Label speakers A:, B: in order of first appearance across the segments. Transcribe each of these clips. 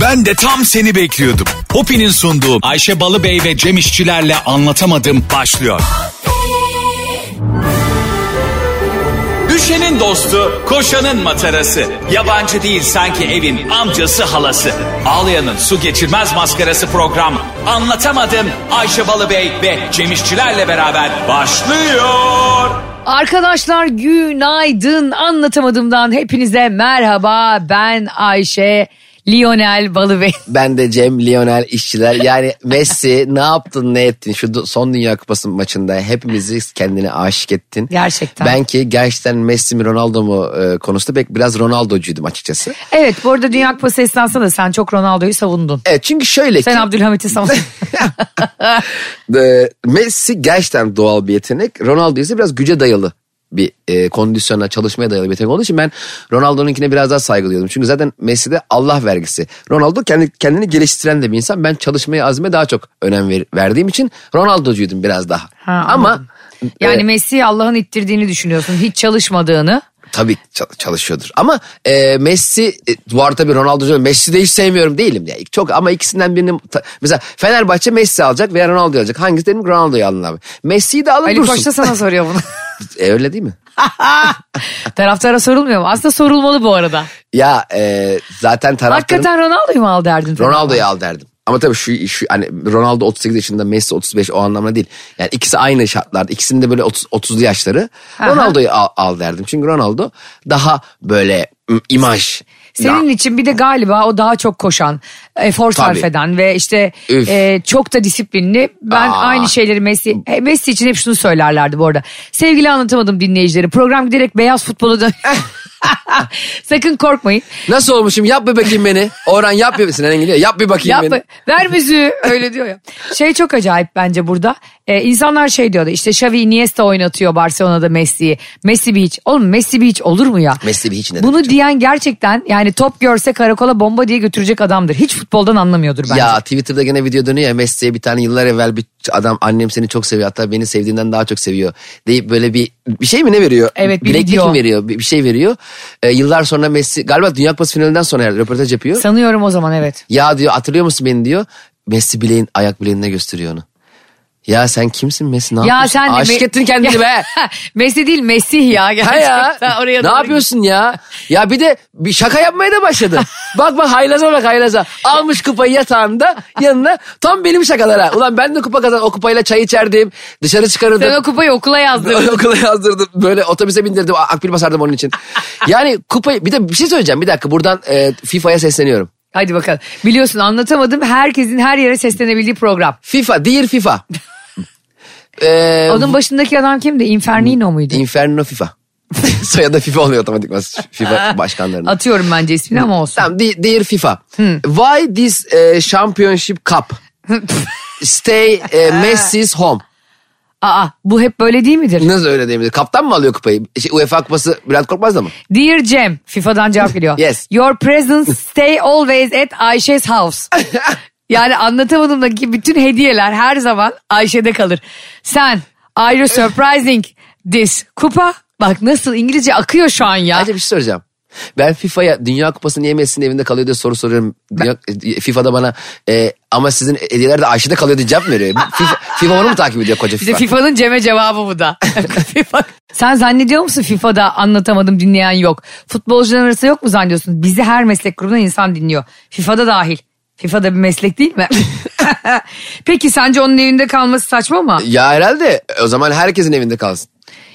A: Ben de tam seni bekliyordum. Hopi'nin sunduğu Ayşe Balıbey ve Cem İşçilerle Anlatamadım başlıyor.
B: Düşenin dostu, koşanın matarası. Yabancı değil sanki evin amcası halası. Ağlayanın su geçirmez maskarası program. Anlatamadım Ayşe Balıbey ve Cemişçilerle beraber başlıyor.
C: Arkadaşlar günaydın anlatamadığımdan hepinize merhaba ben Ayşe Lionel Balıbey.
D: Ben de Cem, Lionel, işçiler. Yani Messi ne yaptın ne ettin şu du- son Dünya Kupası maçında hepimizi kendine aşık ettin.
C: Gerçekten.
D: Ben ki gerçekten Messi mi Ronaldo mu e, konusunda pek biraz Ronaldo'cuydum açıkçası.
C: Evet bu arada Dünya Kupası esnasında da sen çok Ronaldo'yu savundun.
D: Evet çünkü şöyle
C: Sen
D: ki
C: Abdülhamit'i savundun.
D: e, Messi gerçekten doğal bir yetenek. Ronaldo ise biraz güce dayalı bir e, kondisyona çalışmaya dayalı bir yetenek olduğu için ben Ronaldo'nunkine biraz daha saygı duyuyordum. Çünkü zaten Messi de Allah vergisi. Ronaldo kendi, kendini geliştiren de bir insan. Ben çalışmaya azme daha çok önem ver- verdiğim için Ronaldo'cuydum biraz daha.
C: Ha,
D: Ama
C: anladım. Yani
D: e,
C: Messi'yi Allah'ın ittirdiğini düşünüyorsun hiç çalışmadığını.
D: e, Tabii çal- çalışıyordur. Ama e, Messi e, bu arada tabii Ronaldo'cu Messi de hiç sevmiyorum değilim ya. Çok ama ikisinden birini ta- mesela Fenerbahçe Messi alacak veya Ronaldo alacak. Hangisi dedim ki Ronaldo'yu alın abi. Messi'yi de alın
C: Ali
D: dursun.
C: Koç da sana soruyor bunu.
D: E, öyle değil mi?
C: Taraftara sorulmuyor mu? Aslında sorulmalı bu arada.
D: Ya e, zaten taraftarın
C: Hakikaten Ronaldo'yu mu al derdin?
D: Ronaldo'yu al derdim. Ama tabii şu, şu hani Ronaldo 38 yaşında Messi 35 o anlamda değil. Yani ikisi aynı şartlarda. İkisinin de böyle 30, 30'lu yaşları.
C: Aha.
D: Ronaldo'yu al, al derdim. Çünkü Ronaldo daha böyle mm, imaj.
C: Senin için bir de galiba o daha çok koşan, efor sarf
D: Tabii.
C: eden ve işte
D: Üf.
C: e, çok da disiplinli. Ben
D: Aa.
C: aynı şeyleri Messi, e, Messi için hep şunu söylerlerdi bu arada. Sevgili anlatamadım dinleyicileri. Program giderek beyaz futbola dön. Sakın korkmayın.
D: Nasıl olmuşum? Yap bir bakayım beni. Orhan yap bir Sinan Engin diyor, Yap bir bakayım
C: Yapma,
D: beni.
C: ver müziği öyle diyor ya. Şey çok acayip bence burada. Ee, insanlar şey diyordu işte Xavi Iniesta oynatıyor Barcelona'da Messi'yi. Messi bir hiç. Oğlum Messi bir hiç olur mu ya?
D: Messi bir hiç ne
C: Bunu
D: demek
C: diyen gerçekten yani top görse karakola bomba diye götürecek adamdır. Hiç futboldan anlamıyordur bence.
D: Ya Twitter'da gene video dönüyor ya Messi'ye bir tane yıllar evvel bir adam annem seni çok seviyor hatta beni sevdiğinden daha çok seviyor deyip böyle bir bir şey mi ne veriyor?
C: Evet, bir
D: Bileklik
C: video.
D: mi veriyor? Bir, bir şey veriyor. Ee, yıllar sonra Messi galiba Dünya Kupası finalinden sonra herhalde röportaj yapıyor.
C: Sanıyorum o zaman evet.
D: ya diyor hatırlıyor musun beni diyor. Messi bileğin ayak bileğine gösteriyor onu. Ya sen kimsin Messi ne
C: Ya
D: yapıyorsun?
C: sen de
D: Aşık
C: Me-
D: ettin kendini be.
C: Messi değil Mesih ya
D: Ha
C: gerçekten.
D: ya.
C: Oraya
D: ne
C: doğru
D: yapıyorsun ya? Ya bir de bir şaka yapmaya da başladı. bak bak haylaza bak haylaza. Almış kupayı yatağında yanına. Tam benim şakalara. Ulan ben de kupa kazan o kupayla çay içerdim. Dışarı
C: gidiyor. Sen o
D: çıkarırdım.
C: kupayı okula yazdırdın.
D: Okula yazdırdım. Böyle otobüse bindirdim. Akbil basardım onun için. Yani kupayı bir de bir şey söyleyeceğim. Bir dakika buradan e, FIFA'ya sesleniyorum.
C: Hadi bakalım. Biliyorsun anlatamadım herkesin her yere seslenebildiği program.
D: FIFA, dear FIFA. Ee,
C: Onun başındaki adam kimdi? Infernino muydu?
D: Inferno FIFA. Soyadı FIFA oluyor otomatikman FIFA başkanlarının.
C: Atıyorum bence ismini ama olsun.
D: Tamam, de- dear FIFA.
C: Hmm.
D: Why this eh, championship cup? Stay eh, Messi's home.
C: Aa bu hep böyle değil midir?
D: Nasıl öyle diyeyim? Kaptan mı alıyor kupayı? Şey, UEFA kupası Bülent Korkmaz da mı?
C: Dear Cem, FIFA'dan cevap geliyor.
D: Yes.
C: Your presence stay always at Ayşe's house. yani anlatamadığımdaki bütün hediyeler her zaman Ayşe'de kalır. Sen are you surprising this kupa? Bak nasıl İngilizce akıyor şu an ya.
D: Ayrıca bir şey soracağım. Ben FIFA'ya Dünya Kupası'nı niye Messi'nin evinde kalıyor diye soru soruyorum. Dünya, e, FIFA'da bana eh, ama sizin hediyeler de Ayşe'de kalıyor diye cevap mı veriyor. FIFA, FIFA onu mu takip ediyor koca
C: Bize
D: FIFA?
C: FIFA'nın Cem'e cevabı bu da. FIFA. Sen zannediyor musun FIFA'da anlatamadım dinleyen yok. Futbolcular arasında yok mu zannediyorsun? Bizi her meslek grubundan insan dinliyor. FIFA'da dahil. FIFA'da bir meslek değil mi? Peki sence onun evinde kalması saçma mı?
D: Ya herhalde o zaman herkesin evinde kalsın.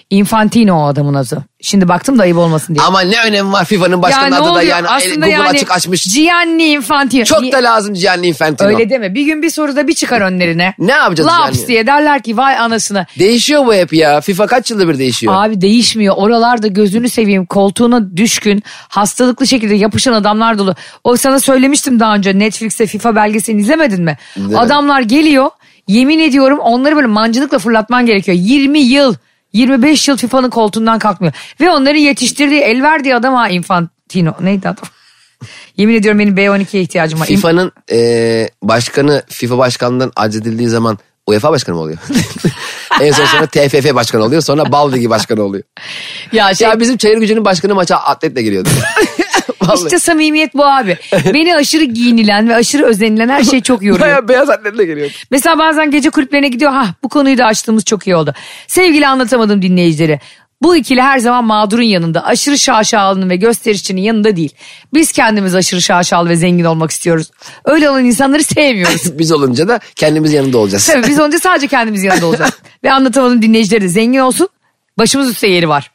C: Infantino o adamın adı. Şimdi baktım da ayıp olmasın diye.
D: Ama ne önemi var FIFA'nın başkanı
C: ne
D: adı da
C: oluyor?
D: yani el-
C: Aslında
D: Google açık açmış.
C: Gianni Infantino.
D: Çok
C: Ni-
D: da lazım Gianni Infantino.
C: Öyle deme. Bir gün bir soruda bir çıkar önlerine.
D: Ne yapacağız
C: Laps
D: yani?
C: diye derler ki vay anasını.
D: Değişiyor bu hep ya. FIFA kaç yılda bir değişiyor?
C: Abi değişmiyor. Oralarda gözünü seveyim koltuğuna düşkün hastalıklı şekilde yapışan adamlar dolu. O sana söylemiştim daha önce Netflix'te FIFA belgeselini izlemedin mi? Adamlar geliyor yemin ediyorum onları böyle mancınıkla fırlatman gerekiyor. 20 yıl 25 yıl FIFA'nın koltuğundan kalkmıyor. Ve onları yetiştirdiği el verdiği adam ha Infantino neydi adam? yemin ediyorum benim B12'ye ihtiyacım var.
D: FIFA'nın e, başkanı FIFA başkanından aczedildiği zaman UEFA başkanı mı oluyor? en son sonra TFF başkanı oluyor. Sonra Bal Ligi başkanı oluyor.
C: ya şey
D: Ya bizim çayır gücünün başkanı maça atletle giriyordu. Vallahi.
C: İşte samimiyet bu abi. Beni aşırı giyinilen ve aşırı özenilen her şey çok yoruyor.
D: Bayağı beyaz atletle geliyordu.
C: Mesela bazen gece kulüplerine gidiyor. Ha bu konuyu da açtığımız çok iyi oldu. Sevgili anlatamadım dinleyicileri. Bu ikili her zaman mağdurun yanında. Aşırı şaşalının ve gösterişçinin yanında değil. Biz kendimiz aşırı şaşalı ve zengin olmak istiyoruz. Öyle olan insanları sevmiyoruz.
D: Biz olunca da kendimiz yanında olacağız.
C: Tabii biz onca sadece kendimiz yanında olacağız. ve anlatamadım dinleyicileri de zengin olsun. Başımız üstte yeri var.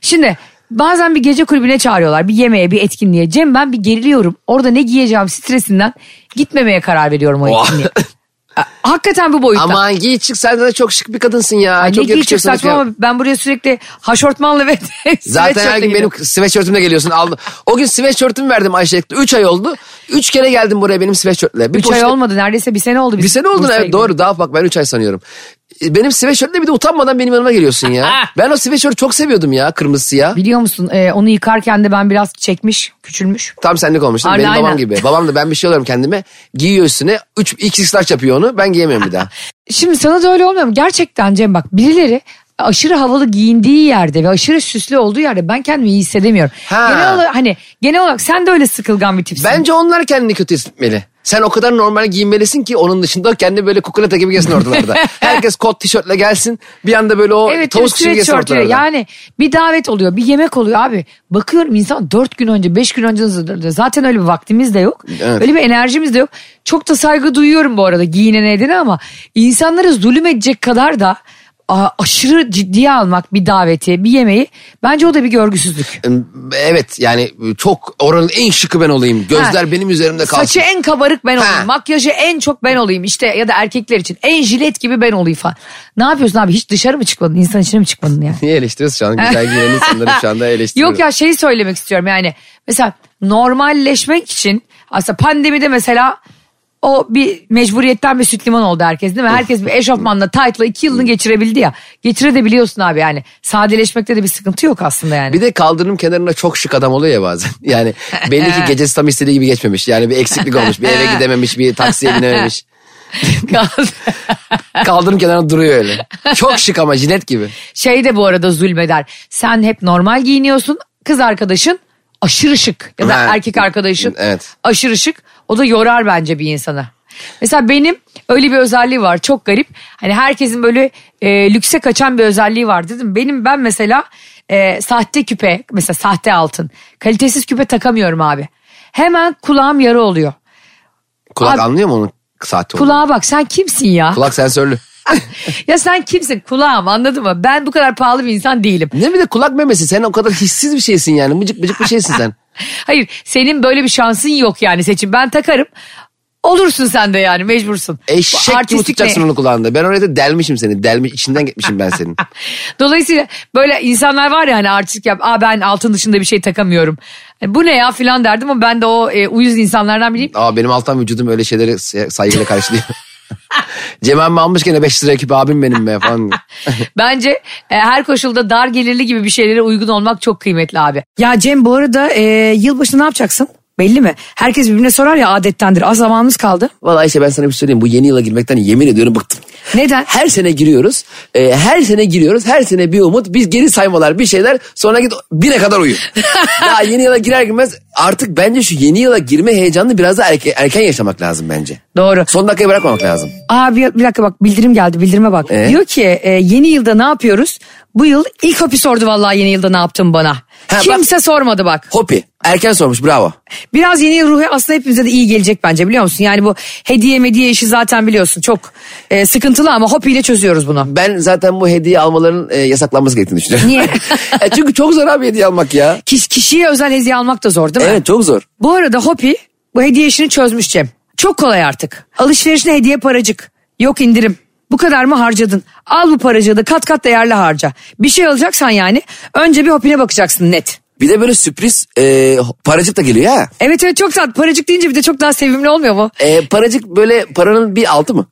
C: Şimdi bazen bir gece kulübüne çağırıyorlar. Bir yemeğe, bir etkinliğe. Cem ben bir geriliyorum. Orada ne giyeceğim stresinden gitmemeye karar veriyorum o
D: Oha.
C: etkinliğe. Hakikaten bu boyutta.
D: Aman giy çık sen de çok şık bir kadınsın ya.
C: Ay ne
D: çok
C: giy çok
D: yakışıyorsun.
C: saçma ama ben buraya sürekli haşortmanla ve
D: Zaten her gün benim
C: gidiyorum.
D: sweatshirt'ümle geliyorsun. Aldım. O gün sweatshirt'ümü verdim Ayşe. 3 ay oldu. 3 kere geldim buraya benim sweatshirt'le. Bir
C: Üç ay
D: poşet-
C: olmadı neredeyse bir sene oldu.
D: Bir
C: biz
D: sene oldu.
C: Bursa'ya
D: Evet,
C: gidelim.
D: doğru daha bak ben 3 ay sanıyorum. E, Benim sweatshirt'le bir de utanmadan benim yanıma geliyorsun ya.
C: Ah.
D: ben o sweatshirt'ü çok seviyordum ya kırmızı siyah.
C: Biliyor musun e, onu yıkarken de ben biraz çekmiş küçülmüş.
D: Tam senlik olmuştu.
C: Arda,
D: Benim babam
C: aynen.
D: gibi. Babam da ben bir şey alıyorum kendime. Giyiyor üstüne. 3 x large yapıyor onu. Ben giyemiyorum bir daha.
C: Şimdi sana da öyle olmuyor mu? Gerçekten Cem bak birileri aşırı havalı giyindiği yerde ve aşırı süslü olduğu yerde ben kendimi iyi hissedemiyorum.
D: Ha.
C: Genel olarak, hani genel olarak sen de öyle sıkılgan bir tipsin.
D: Bence onlar kendini kötü hissetmeli. Sen o kadar normal giyinmelisin ki onun dışında kendi böyle kukulata gibi gelsin ortalarda. Herkes kot tişörtle gelsin. Bir anda böyle o
C: Evet,
D: tavus
C: evet,
D: kuşu gibi gelsin
C: sweatshirt'ü.
D: ortalarda.
C: Yani bir davet oluyor, bir yemek oluyor abi. Bakıyorum insan dört gün önce, beş gün önce hazırlanıyor. Zaten öyle bir vaktimiz de yok.
D: Evet.
C: Öyle bir enerjimiz de yok. Çok da saygı duyuyorum bu arada giyinene edene ama insanlara zulüm edecek kadar da a- aşırı ciddiye almak bir daveti, bir yemeği bence o da bir görgüsüzlük.
D: E, Evet yani çok oranın en şıkı ben olayım. Gözler
C: Ha.
D: benim üzerimde kalsın.
C: Saçı en kabarık ben
D: Ha.
C: olayım. Makyajı en çok ben olayım işte ya da erkekler için. En jilet gibi ben olayım falan. Ne yapıyorsun abi hiç dışarı mı çıkmadın? İnsan içine mi çıkmadın yani?
D: Niye eleştiriyorsun şu an? Güzel giyinen insanları şu anda eleştiriyoruz.
C: Yok ya şeyi söylemek istiyorum yani. Mesela normalleşmek için aslında pandemide mesela o bir mecburiyetten bir süt liman oldu herkes değil mi? Herkes bir eşofmanla taytla iki yılını geçirebildi ya. Geçirebiliyorsun abi yani. Sadeleşmekte de bir sıkıntı yok aslında yani.
D: Bir de kaldırım kenarında çok şık adam oluyor ya bazen. Yani belli ki gecesi tam istediği gibi geçmemiş. Yani bir eksiklik olmuş. Bir eve gidememiş, bir taksiye binememiş. Kaldırım kenarında duruyor öyle. Çok şık ama jilet gibi.
C: şey de bu arada zulmeder. Sen hep normal giyiniyorsun. Kız arkadaşın aşırı şık. Ya da
D: Ha.
C: erkek arkadaşın
D: Evet.
C: aşırı şık. O da yorar bence bir insana. Mesela benim öyle bir özelliği var çok garip. Hani herkesin böyle e, lükse kaçan bir özelliği var dedim. Benim ben mesela e, sahte küpe mesela sahte altın kalitesiz küpe takamıyorum abi. Hemen kulağım yara oluyor.
D: Kulak
C: Abi-
D: anlıyor mu onun saati olduğunu?
C: Kulağa bak sen kimsin ya?
D: Kulak sensörlü.
C: ya sen kimsin kulağım anladın mı? Ben bu kadar pahalı bir insan değilim.
D: Ne bir de kulak memesi sen o kadar hissiz bir şeysin yani mıcık mıcık bir şeysin sen.
C: Hayır senin böyle bir şansın yok yani seçim. Ben takarım. Olursun sen de yani mecbursun.
D: Eşek
C: Bu
D: gibi
C: artistik
D: tutacaksın
C: ne?
D: onu kulağında. Ben oraya da delmişim seni. Delmiş içinden gitmişim ben senin.
C: Dolayısıyla böyle insanlar var ya hani artistik yap. Aa ben altın dışında bir şey takamıyorum. E, Bu ne ya filan derdim ama ben de o e, uyuz insanlardan biriyim.
D: Aa benim alttan vücudum öyle şeyleri se- saygıyla karşılıyor. Cem emmi almış gene 5 lira küpe abim benim be falan.
C: Bence e, her koşulda dar gelirli gibi bir şeylere uygun olmak çok kıymetli abi.
E: Ya Cem bu arada e, yılbaşı ne yapacaksın? Belli mi? Herkes birbirine sorar ya adettendir. Az zamanımız kaldı.
D: Vallahi Ayşe ben sana bir şey söyleyeyim. Bu yeni yıla girmekten yemin ediyorum bıktım.
C: Neden?
D: Her sene giriyoruz. e, her sene giriyoruz. Her sene bir umut. Biz geri saymalar bir şeyler. Sonra git bire kadar uyu. Daha yeni yıla girer girmez artık bence şu yeni yıla girme heyecanını biraz daha erke- erken yaşamak lazım bence.
C: Doğru.
D: Son dakikaya bırakmamak lazım.
E: Aa bir, bir dakika bak bildirim geldi bildirime bak.
D: Ee?
E: Diyor ki e, yeni yılda ne yapıyoruz? Bu yıl ilk hopi sordu vallahi yeni yılda ne yaptın bana.
D: Ha, bak-
E: Kimse sormadı bak.
D: Hopi erken sormuş bravo.
E: Biraz yeni yıl ruhu aslında hepimize de iyi gelecek bence biliyor musun? Yani bu hediye mediye işi zaten biliyorsun çok e, sıkıntılı ama hopiyle çözüyoruz bunu.
D: Ben zaten bu hediye almaların e, yasaklanması gerektiğini düşünüyorum.
E: Niye?
D: E, çünkü çok zor abi hediye almak ya.
E: Kiş, kişiye özel hediye almak da zor değil mi?
D: Evet çok zor.
E: Bu arada Hopi bu hediye işini çözmüş Cem. Çok kolay artık. Alışverişine hediye paracık. Yok indirim. Bu kadar mı harcadın? Al bu paracığı da kat kat değerli harca. Bir şey alacaksan yani önce bir Hopi'ne bakacaksın net.
D: Bir de böyle sürpriz e, paracık da geliyor ha.
E: Evet evet çok tatlı. Paracık deyince bir de çok daha sevimli olmuyor mu?
D: E, paracık böyle paranın bir altı mı?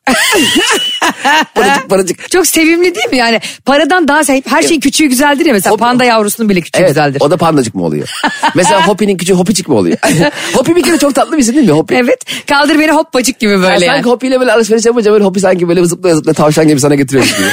D: paracık paracık.
E: Çok sevimli değil mi yani? Paradan daha sevimli. Her şeyin küçüğü güzeldir ya mesela
D: Hopi-
E: panda yavrusunun bile küçüğü
D: Evet,
E: güzeldir.
D: o da pandacık mı oluyor? Mesela Hopi'nin küçüğü Hopicik mi oluyor? Hopi bir kere çok tatlı bir isim değil mi? Hopi.
E: Evet. Kaldır beni hoppacık gibi
D: Yani
E: böyle. yani.
D: sanki Hopi'yle böyle alışveriş yapınca böyle Hopi sanki böyle zıplaya zıplaya tavşan gibi sana getiriyormuş gibi.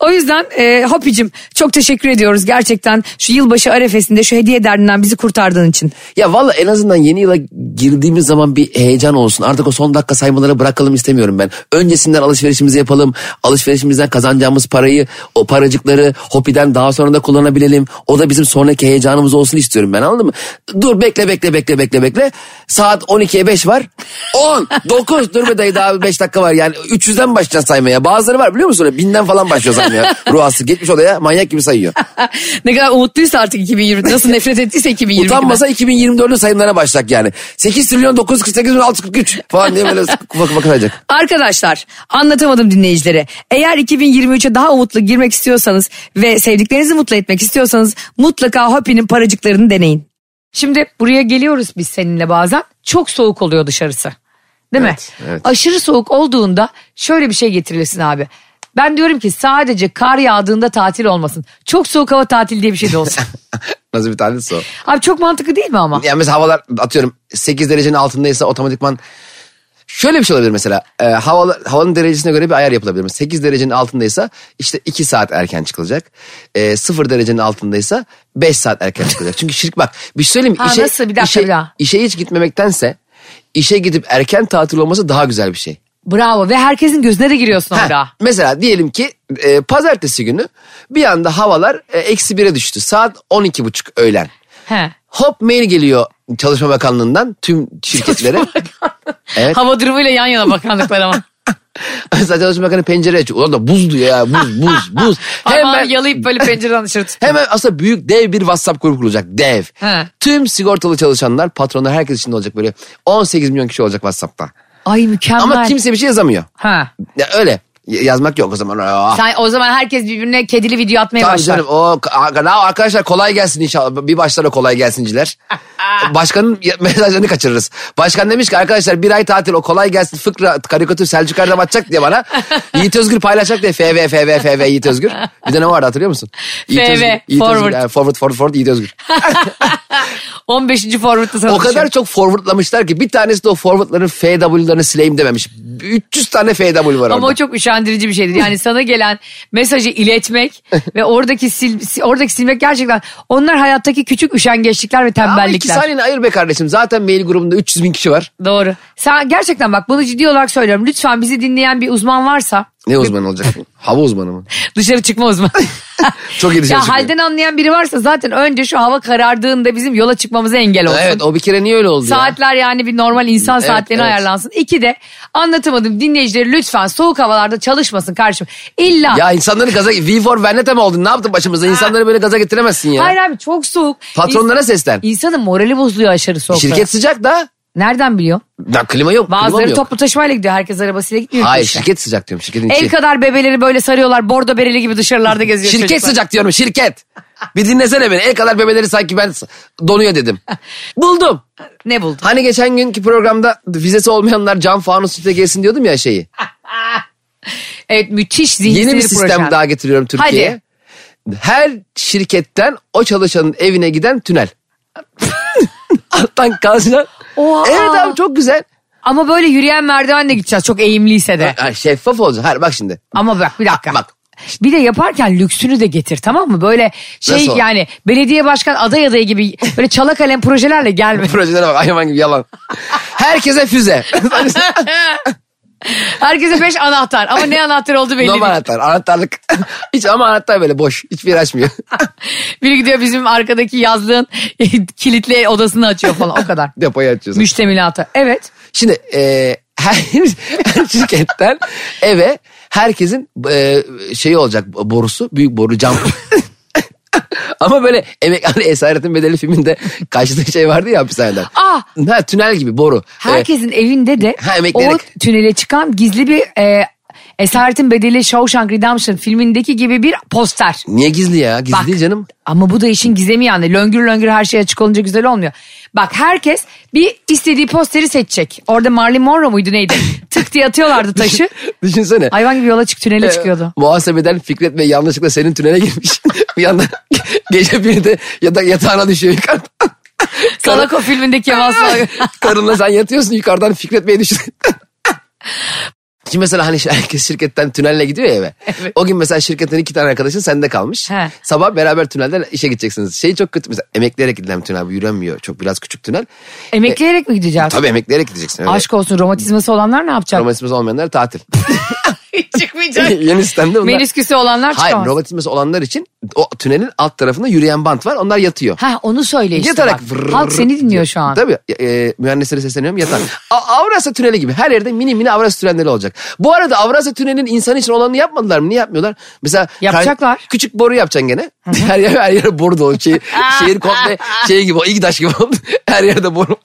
E: o yüzden e, Hopi'cim çok teşekkür ediyoruz gerçekten. Şu yılbaşı nefesinde şu hediye derdinden bizi kurtardığın için.
D: Ya valla en azından yeni yıla girdiğimiz zaman bir heyecan olsun. Artık o son dakika saymaları bırakalım istemiyorum ben. Öncesinden alışverişimizi yapalım. Alışverişimizden kazanacağımız parayı, o paracıkları Hopi'den daha sonra da kullanabilelim. O da bizim sonraki heyecanımız olsun istiyorum ben anladın mı? Dur bekle bekle bekle bekle bekle. Saat 12'ye 5 var. 10, 9 dur be dayı daha 5 dakika var. Yani 300'den başlayacağız saymaya. Bazıları var biliyor musun? 1000'den falan başlıyor saymaya. Ruhası gitmiş odaya manyak gibi sayıyor.
E: ne kadar umutluysa artık 2020 nasıl nefret ettiyse 2020'den.
D: Utanmasa 2024'lü sayımlara başlak yani. 8 trilyon 948 bin 643 falan diye böyle bakıp bakılacak.
E: Arkadaşlar anlatamadım dinleyicilere. Eğer 2023'e daha umutlu girmek istiyorsanız ve sevdiklerinizi mutlu etmek istiyorsanız mutlaka Hopi'nin paracıklarını deneyin.
C: Şimdi buraya geliyoruz biz seninle bazen. Çok soğuk oluyor dışarısı. Değil
D: Evet,
C: mi?
D: evet.
C: Aşırı soğuk olduğunda şöyle bir şey getirilirsin abi. Ben diyorum ki sadece kar yağdığında tatil olmasın. Çok soğuk hava tatil diye bir şey de olsun.
D: Nasıl bir tanesi o?
C: abi çok mantıklı değil mi ama?
D: Yani mesela havalar atıyorum 8 derecenin altındaysa otomatikman şöyle bir şey olabilir mesela. E, havalı- havanın derecesine göre bir ayar yapılabilir. 8 derecenin altındaysa işte 2 saat erken çıkılacak. E, 0 derecenin altındaysa 5 saat erken çıkılacak. Çünkü şirk bak bir şey söyleyeyim mi?
C: Ha, nasıl? Bir dakika,
D: işe,
C: bir daha.
D: işe hiç gitmemektense işe gidip erken tatil olması daha güzel bir şey.
C: Bravo ve herkesin gözüne de giriyorsun
D: Ha,
C: orada.
D: Mesela diyelim ki e, pazartesi günü bir anda havalar e, eksi 1'e düştü. Saat 12.30 öğlen.
C: He.
D: Hop mail geliyor Çalışma Bakanlığı'ndan tüm şirketlere. Evet.
C: Hava durumuyla yan yana bakanlıklar ama.
D: Mesela Çalışma Bakanı pencere açıyor. Ulan da buz diyor ya buz buz buz.
C: Parmağını
D: hemen,
C: yalayıp böyle pencereden dışarı tut.
D: hemen aslında büyük dev bir WhatsApp grubu kurulacak dev.
C: He.
D: Tüm sigortalı çalışanlar patronlar herkes içinde olacak böyle 18 milyon kişi olacak WhatsApp'ta.
C: Ay mükemmel.
D: Ama kimse bir şey yazamıyor.
C: Ha.
D: Ya öyle Y- yazmak yok o zaman. Ah.
C: Sen, o zaman herkes birbirine kedili video atmaya
D: Tamam
C: başlar.
D: canım. O, a- arkadaşlar kolay gelsin inşallah. Bir başlara kolay gelsinciler. Başkanın ya- mesajlarını kaçırırız. Başkan demiş ki arkadaşlar bir ay tatil o kolay gelsin fıkra karikatür Selçuk Erdem atacak diye bana. Yiğit Özgür paylaşacak diye FV FV FV Yiğit Özgür. Bir de ne vardı hatırlıyor musun? Yiğit
C: FV,
D: Özgür, Yiğit
C: forward.
D: Özgür, yani forward forward forward Yiğit Özgür.
C: 15. formatta sana
D: O kadar
C: düşüyor.
D: çok forwardlamışlar ki bir tanesi de o forwardların FW'larını sileyim dememiş. 300 tane FW var
C: Ama
D: orada.
C: o çok üşendirici bir şeydir. Yani sana gelen mesajı iletmek ve oradaki sil, si- oradaki silmek gerçekten onlar hayattaki küçük üşengeçlikler ve
D: Ama iki
C: tembellikler.
D: saniyeni ayır be kardeşim. Zaten mail grubunda 300 bin kişi var.
C: Doğru. Sen gerçekten bak bunu ciddi olarak söylüyorum. Lütfen bizi dinleyen bir uzman varsa
D: Ne uzmanı olacak? Hava uzmanı mı?
C: dışarı çıkma uzmanı.
D: Çok iyi dışarı
C: ya
D: çıkıyor.
C: halden anlayan biri varsa zaten önce şu hava karardığında bizim yola çıkmamıza engel olsun.
D: Evet o bir kere niye öyle oldu ya?
C: Saatler yani bir normal insan
D: Evet,
C: saatlerine
D: evet.
C: ayarlansın. İki de anlatamadım dinleyicileri lütfen soğuk havalarda çalışmasın kardeşim. İlla
D: Ya insanları gaza... V for Vendetta mı oldun? Ne yaptın başımıza? İnsanları böyle gaza getiremezsin ya.
C: Hayır abi çok soğuk.
D: Patronlara seslen.
C: İns- İnsanın morali bozuluyor aşırı soğukta.
D: Şirket sıcak da.
C: Nereden biliyor?
D: Ya klima yok. klima mı
C: Bazıları
D: yok.
C: toplu taşımayla gidiyor. Herkes arabasıyla gitmiyor. ki
D: Hayır
C: işte.
D: şirket sıcak diyorum. Şirketin
C: El
D: içi.
C: kadar bebeleri böyle sarıyorlar. Bordo bereli gibi dışarılarda geziyor
D: Şirket
C: çocuklar.
D: sıcak diyorum şirket. Bir dinlesene beni. El kadar bebeleri sanki ben s- donuyor dedim. Buldum.
C: Ne buldun?
D: Hani geçen günkü programda vizesi olmayanlar cam fanus sütle gelsin diyordum ya şeyi.
C: Evet müthiş zihinsel
D: Yeni bir sistem
C: proje.
D: daha getiriyorum Türkiye'ye.
C: Hadi.
D: Her şirketten o çalışanın evine giden tünel. Alttan kalsın.
C: Oha.
D: Evet abi çok güzel.
C: Ama böyle yürüyen merdivenle gideceğiz. Çok eğimliyse de.
D: Ha, şeffaf olacak. Hayır bak şimdi.
C: Ama bak bir dakika.
D: Bak.
C: Bir de yaparken lüksünü de getir tamam mı? Böyle şey
D: Nasıl?
C: yani belediye başkan aday adayı gibi böyle çala kalem projelerle gelme.
D: Projelere bak hayvan gibi yalan. Herkese füze.
C: Herkese beş anahtar ama ne anahtar oldu belli
D: Normal
C: değil.
D: anahtar. Anahtarlık. Hiç ama anahtar böyle boş. Hiçbir yer açmıyor.
C: Biri gidiyor bizim arkadaki yazlığın kilitli odasını açıyor falan o kadar.
D: Depoyu açıyorsun.
C: Müştemilatı. Evet.
D: Şimdi e, her, her şirketten eve herkesin e, şeyi olacak borusu. Büyük boru cam. Ama böyle emek hani Esaretin Bedeli filminde karşıdaki şey vardı ya hapishaneden.
C: Ah!
D: Ha, tünel gibi boru. E,
C: Herkesin evinde de
D: Ha, emekleyerek.
C: o tünele çıkan gizli bir e, Esaretin Bedeli Shawshank Redemption filmindeki gibi bir poster.
D: niye gizli ya? Gizli
C: Bak.
D: değil canım.
C: Ama bu da işin gizemi yani. Löngür löngür her şey açık olunca güzel olmuyor. Bak herkes bir istediği posteri seçecek. Orada Marilyn Monroe muydu neydi? Tık diye atıyorlardı taşı.
D: Düşünsene.
C: Hayvan gibi yola çık tünele
D: Ee,
C: çıkıyordu.
D: Muhasebeden Fikret Bey yanlışlıkla senin tünele girmiş. bir yandan gece birde yatak yatağına düşüyor yukarıdan.
C: Salako
D: E,
C: filmindeki Kemal Sunal.
D: Karınla sen yatıyorsun yukarıdan Fikret Bey düşüyor. Şimdi mesela hani herkes şirketten tünelle gidiyor ya eve. O gün mesela şirketten iki tane arkadaşın sende kalmış.
C: He.
D: Sabah beraber tünelden işe gideceksiniz. Şey çok kötü mesela emekleyerek gidilen bir tünel bu yürünmüyor. Çok biraz küçük tünel.
C: Emekleyerek mi gideceğiz?
D: Tabii emekleyerek gideceksin. Öyle.
C: Aşk olsun romatizması olanlar ne yapacak?
D: Romatizması olmayanlar tatil.
C: Çıkmayacak.
D: Yeni sistemde bunlar.
C: Menisküsü olanlar
D: Hayır
C: çıkamaz.
D: romatizması olanlar için o tünelin alt tarafında yürüyen bant var. Onlar yatıyor.
C: Ha onu söyle işte.
D: Yatarak
C: bak.
D: vrrr
C: Halk seni dinliyor şu an.
D: Tabii e, mühendislere sesleniyorum yatak. A- Avrasya tüneli gibi her yerde mini mini Avrasya tünelleri olacak. Bu arada Avrasya tünelinin insan için olanını yapmadılar mı? Niye yapmıyorlar? Mesela kay-
C: Yapacaklar.
D: küçük boru yapacaksın gene. her yer her yere boru dolu. Şey, şehir komple şey gibi ilk taş gibi oldu. her yerde boru.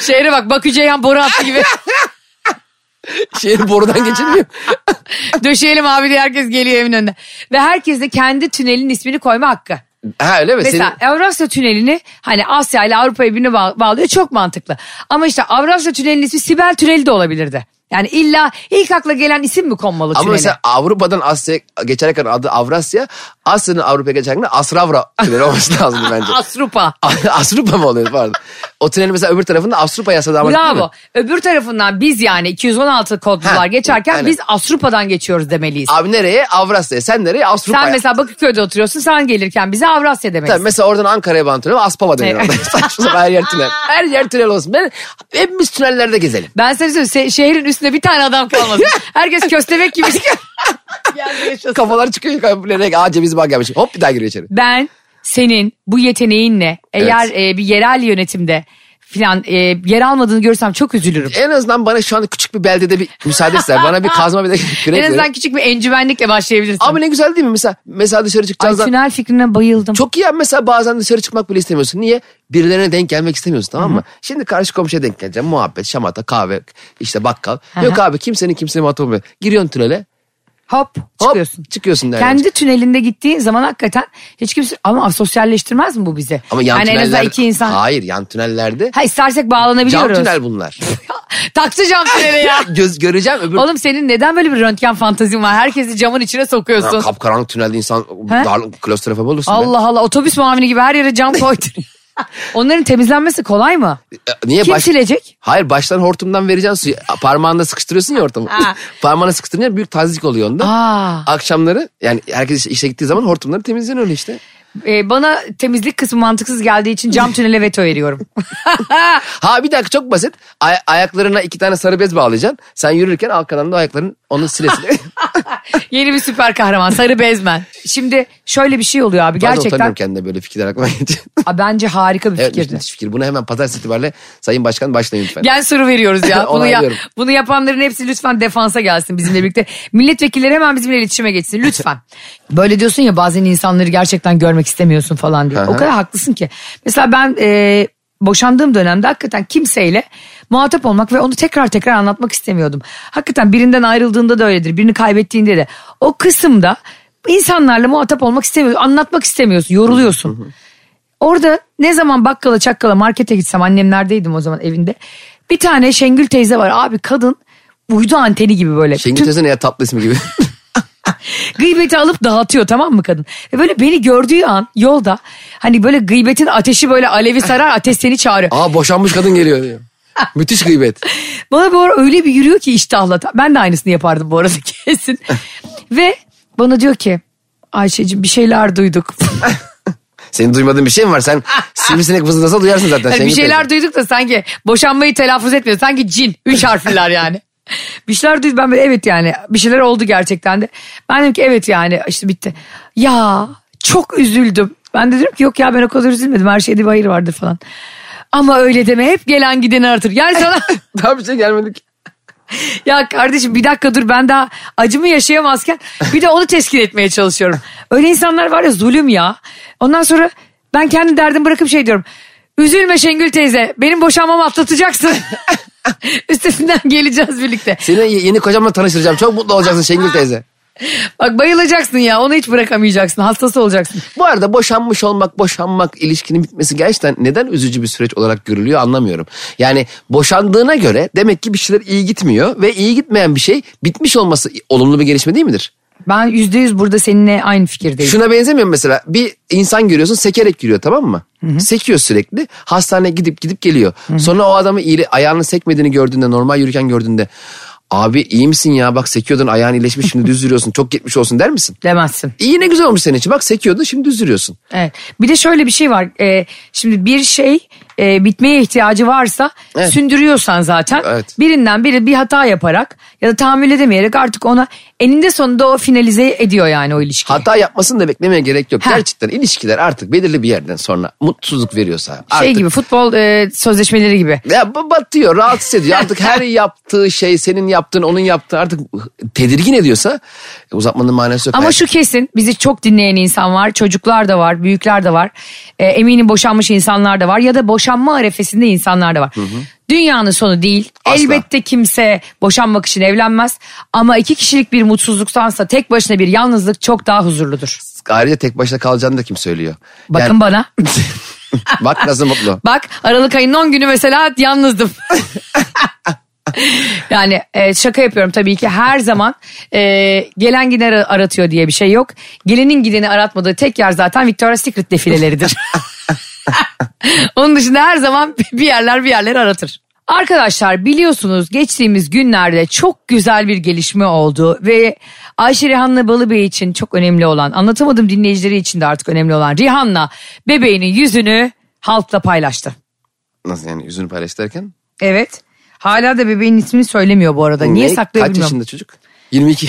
C: Şehre bak Bakü Ceyhan boru hattı gibi.
D: şehir borudan geçilmiyor.
C: Döşeyelim abi diye herkes geliyor evin önüne. Ve herkes de kendi tünelin ismini koyma hakkı.
D: Ha öyle mi?
C: Mesela Avrasya Tüneli'ni hani Asya ile Avrupa birbirini bağ- bağlıyor çok mantıklı. Ama işte Avrasya Tüneli'nin ismi Sibel Tüneli de olabilirdi. Yani illa ilk akla gelen isim mi konmalı
D: Ama
C: tünele?
D: mesela Avrupa'dan Asya'ya geçerken adı Avrasya, Asya'nın Avrupa'ya geçerken de Asravra tüneli olması lazım bence.
C: Asrupa.
D: Asrupa mı oluyor pardon. O tünelin mesela öbür tarafında Asrupa yasa damat değil mi?
C: Bravo. Öbür tarafından biz yani 216 kodlular
D: Ha,
C: geçerken
D: aynen.
C: biz Asrupa'dan geçiyoruz demeliyiz.
D: Abi nereye? Avrasya'ya. Sen nereye? Avrupa'ya.
C: Sen mesela Bakırköy'de oturuyorsun sen gelirken bize Avrasya demelisin.
D: Tabii mesela oradan Ankara'ya bağlı tünel ama Aspava dönüyor
C: Evet.
D: orada. Saçma sapan her yer tünel. Her yer tünel olsun. Ben, hepimiz tünellerde gezelim.
C: Ben sana söyleyeyim se- şehrin üstünde bir tane adam kalmadı. Herkes köstebek gibi.
D: Kafalar çıkıyor yukarı. Bilerek Aa ceviz bağ gelmiş. Hop bir daha giriyor içeri.
C: ben senin bu yeteneğinle eğer e, bir yerel yönetimde filan e, yer almadığını görsem çok üzülürüm.
D: En azından bana şu anda küçük bir beldede bir müsaade ister. Bana bir kazma bir de kürek
C: En
D: verin.
C: azından küçük bir encümenlikle başlayabilirsin.
D: Abi ne güzel değil mi? Mesela, mesela dışarı
C: Ay
D: çıkacağız.
C: tünel fikrine bayıldım.
D: Çok iyi abi. mesela bazen dışarı çıkmak bile istemiyorsun. Niye? Birilerine denk gelmek istemiyorsun tamam mı? Şimdi karşı komşuya denk geleceğim. Muhabbet, şamata, kahve, işte bakkal. Yok abi kimsenin kimseye muhatap olmuyor. Giriyorsun tünele.
C: Hop
D: Hop,
C: çıkıyorsun.
D: Çıkıyorsun derler.
C: Kendi tünelinde gittiğin zaman hakikaten hiç kimse ama sosyalleştirmez mi bu bizi?
D: Ama yan
C: yani en azından
D: tünellerde-
C: iki insan. Ha,
D: Hayır yan tünellerde
C: istersek
D: cam
C: bağlanabiliyoruz.
D: tünel bunlar.
C: Taktı cam tüneli ya.
D: Göz göreceğim öbür...
C: Oğlum senin neden böyle bir röntgen fantazin var? Herkesi camın içine
D: Ya,
C: sokuyorsun.
D: kapkaranlık tünelde insan
C: He?
D: darlık klostrofob olursun. be.
C: Allah Allah otobüs muamini gibi her yere cam koydun. Onların temizlenmesi kolay mı?
D: E, Niye
C: Kim
D: baş-
C: silecek?
D: Hayır baştan hortumdan vereceksin suyu. A, Parmağında sıkıştırıyorsun ya hortumu.
C: Ha.
D: Parmağına sıkıştırınca büyük tazicik oluyor onda.
C: Aa.
D: Akşamları yani herkes işe- işe gittiği zaman hortumları temizleniyor öyle işte.
C: Ee, bana temizlik kısmı mantıksız geldiği için cam tünele veto veriyorum.
D: Ha bir dakika çok basit. Ay- ayaklarına iki tane sarı bez bağlayacaksın. Sen yürürken arkadan da ayakların onu silesile.
C: Yeni bir süper kahraman sarı bezmen. Şimdi şöyle bir şey oluyor abi
D: Gerçekten. Utanıyorum
C: gerçekten
D: kendime böyle fikirler aklıma gelince.
C: Aa, bence harika bir
D: Evet
C: fikirdi.
D: müthiş fikir. Bunu hemen pazartesi itibariyle Sayın Başkan başlayın lütfen.
C: Gel soru veriyoruz ya. Bunu, ya,
D: Onaylıyorum.
C: bunu yapanların hepsi lütfen defansa gelsin bizimle birlikte. Milletvekilleri hemen bizimle iletişime geçsin lütfen. Böyle diyorsun ya bazen insanları gerçekten görmek istemiyorsun falan diye. o kadar haklısın ki. Mesela ben e, boşandığım dönemde hakikaten kimseyle muhatap olmak ve onu tekrar tekrar anlatmak istemiyordum. Hakikaten birinden ayrıldığında da öyledir. Birini kaybettiğinde de. O kısımda insanlarla muhatap olmak istemiyorsun. Anlatmak istemiyorsun. Yoruluyorsun. Orada ne zaman bakkala çakkala markete gitsem annem neredeydim o zaman evinde. Bir tane Şengül teyze var abi kadın uydu anteni gibi böyle.
D: Şengül
C: Tüm
D: Tez'e ne ya tatlı ismi gibi.
C: gıybeti alıp dağıtıyor tamam mı kadın? Ve böyle beni gördüğü an yolda hani böyle gıybetin ateşi böyle alevi sarar ateş seni çağırıyor.
D: Aa boşanmış kadın geliyor diyor. Müthiş gıybet.
C: Bana bu ara öyle bir yürüyor ki iştahla. Ben de aynısını yapardım bu arada kesin. Ve bana diyor ki Ayşe'cim bir şeyler duyduk.
D: Senin duymadığın bir şey mi var? Sen sivrisinek vızıldasa duyarsın zaten.
C: Hani bir
D: Şengül
C: şeyler
D: teyze.
C: duyduk da sanki boşanmayı telaffuz etmiyor. Sanki cin. Üç harfliler yani. bir şeyler duydum ben böyle evet yani bir şeyler oldu gerçekten de. Ben dedim ki evet yani işte bitti. Ya çok üzüldüm. Ben de diyorum ki yok ya ben o kadar üzülmedim. Her şeyde bir hayır vardır falan. Ama öyle deme hep gelen gideni artır. Yani sana
D: Daha bir şey gelmedik.
C: ya kardeşim bir dakika dur ben daha acımı yaşayamazken bir de onu teskin etmeye çalışıyorum. Öyle insanlar var ya zulüm ya. Ondan sonra ben kendi derdimi bırakıp şey diyorum. Üzülme Şengül teyze benim boşanmamı atlatacaksın. Üstesinden geleceğiz birlikte.
D: Seni yeni kocamla tanıştıracağım. Çok mutlu olacaksın Şengül teyze.
C: Bak bayılacaksın ya onu hiç bırakamayacaksın hastası olacaksın.
D: Bu arada boşanmış olmak, boşanmak, ilişkinin bitmesi gerçekten neden üzücü bir süreç olarak görülüyor anlamıyorum. Yani boşandığına göre demek ki bir şeyler iyi gitmiyor ve iyi gitmeyen bir şey bitmiş olması olumlu bir gelişme değil midir?
C: Ben yüzde yüz burada seninle aynı fikirdeyim.
D: Şuna benzemiyor mu mesela bir insan görüyorsun sekerek yürüyor tamam mı? Sekiyor sürekli hastaneye gidip gidip geliyor. Sonra o adamı iyi, ayağını sekmediğini gördüğünde normal yürürken gördüğünde Abi iyi misin ya bak sekiyordun ayağın iyileşmiş şimdi düz yürüyorsun çok gitmiş olsun der misin?
C: Demezsin.
D: İyi ne güzel olmuş senin için bak sekiyordun şimdi düz yürüyorsun.
C: Evet. Bir de şöyle bir şey var. Ee, şimdi bir şey e, bitmeye ihtiyacı varsa
D: Evet.
C: sündürüyorsan zaten
D: Evet.
C: birinden biri bir hata yaparak ya da tahammül edemeyerek artık ona eninde sonunda o finalize ediyor yani o ilişkiyi.
D: Hata yapmasını da beklemeye gerek yok.
C: Ha.
D: Gerçekten ilişkiler artık belirli bir yerden sonra mutsuzluk veriyorsa artık
C: şey gibi futbol e, sözleşmeleri gibi.
D: Ya bu batıyor, rahatsız ediyor. Artık her yaptığı şey senin yaptığın, onun yaptığı artık tedirgin ediyorsa e, uzatmanın manası yok.
C: Ama
D: Hayır.
C: şu kesin bizi çok dinleyen insan var. Çocuklar da var, büyükler de var. E, eminim boşanmış insanlar da var ya da boşanma arefesinde insanlar da var. Dünyanın sonu değil.
D: Asla.
C: Elbette kimse boşanmak için evlenmez. Ama iki kişilik bir mutsuzluktansa tek başına bir yalnızlık çok daha huzurludur.
D: ayrıca tek başına kalacağını da kim söylüyor?
C: Bakın
D: Yani-
C: bana.
D: Bak nasıl mutlu.
C: Bak Aralık ayının 10 günü mesela yalnızdım. yani e, şaka yapıyorum tabii ki her zaman e, gelen gideni ar- aratıyor diye bir şey yok. Gelenin gideni aratmadığı tek yer zaten Victoria's Secret defileleridir. Onun dışında her zaman bir yerler bir yerleri aratır. Arkadaşlar biliyorsunuz geçtiğimiz günlerde çok güzel bir gelişme oldu ve Ayşe Rihanna Balıbey için çok önemli olan anlatamadım dinleyicileri için de artık önemli olan Rihanna bebeğinin yüzünü halkla paylaştı.
D: Nasıl yani yüzünü paylaş derken?
C: Evet hala da bebeğin ismini söylemiyor bu arada niye
D: Ne?
C: saklıyor
D: Kaç
C: bilmiyorum.
D: yaşında çocuk? 22.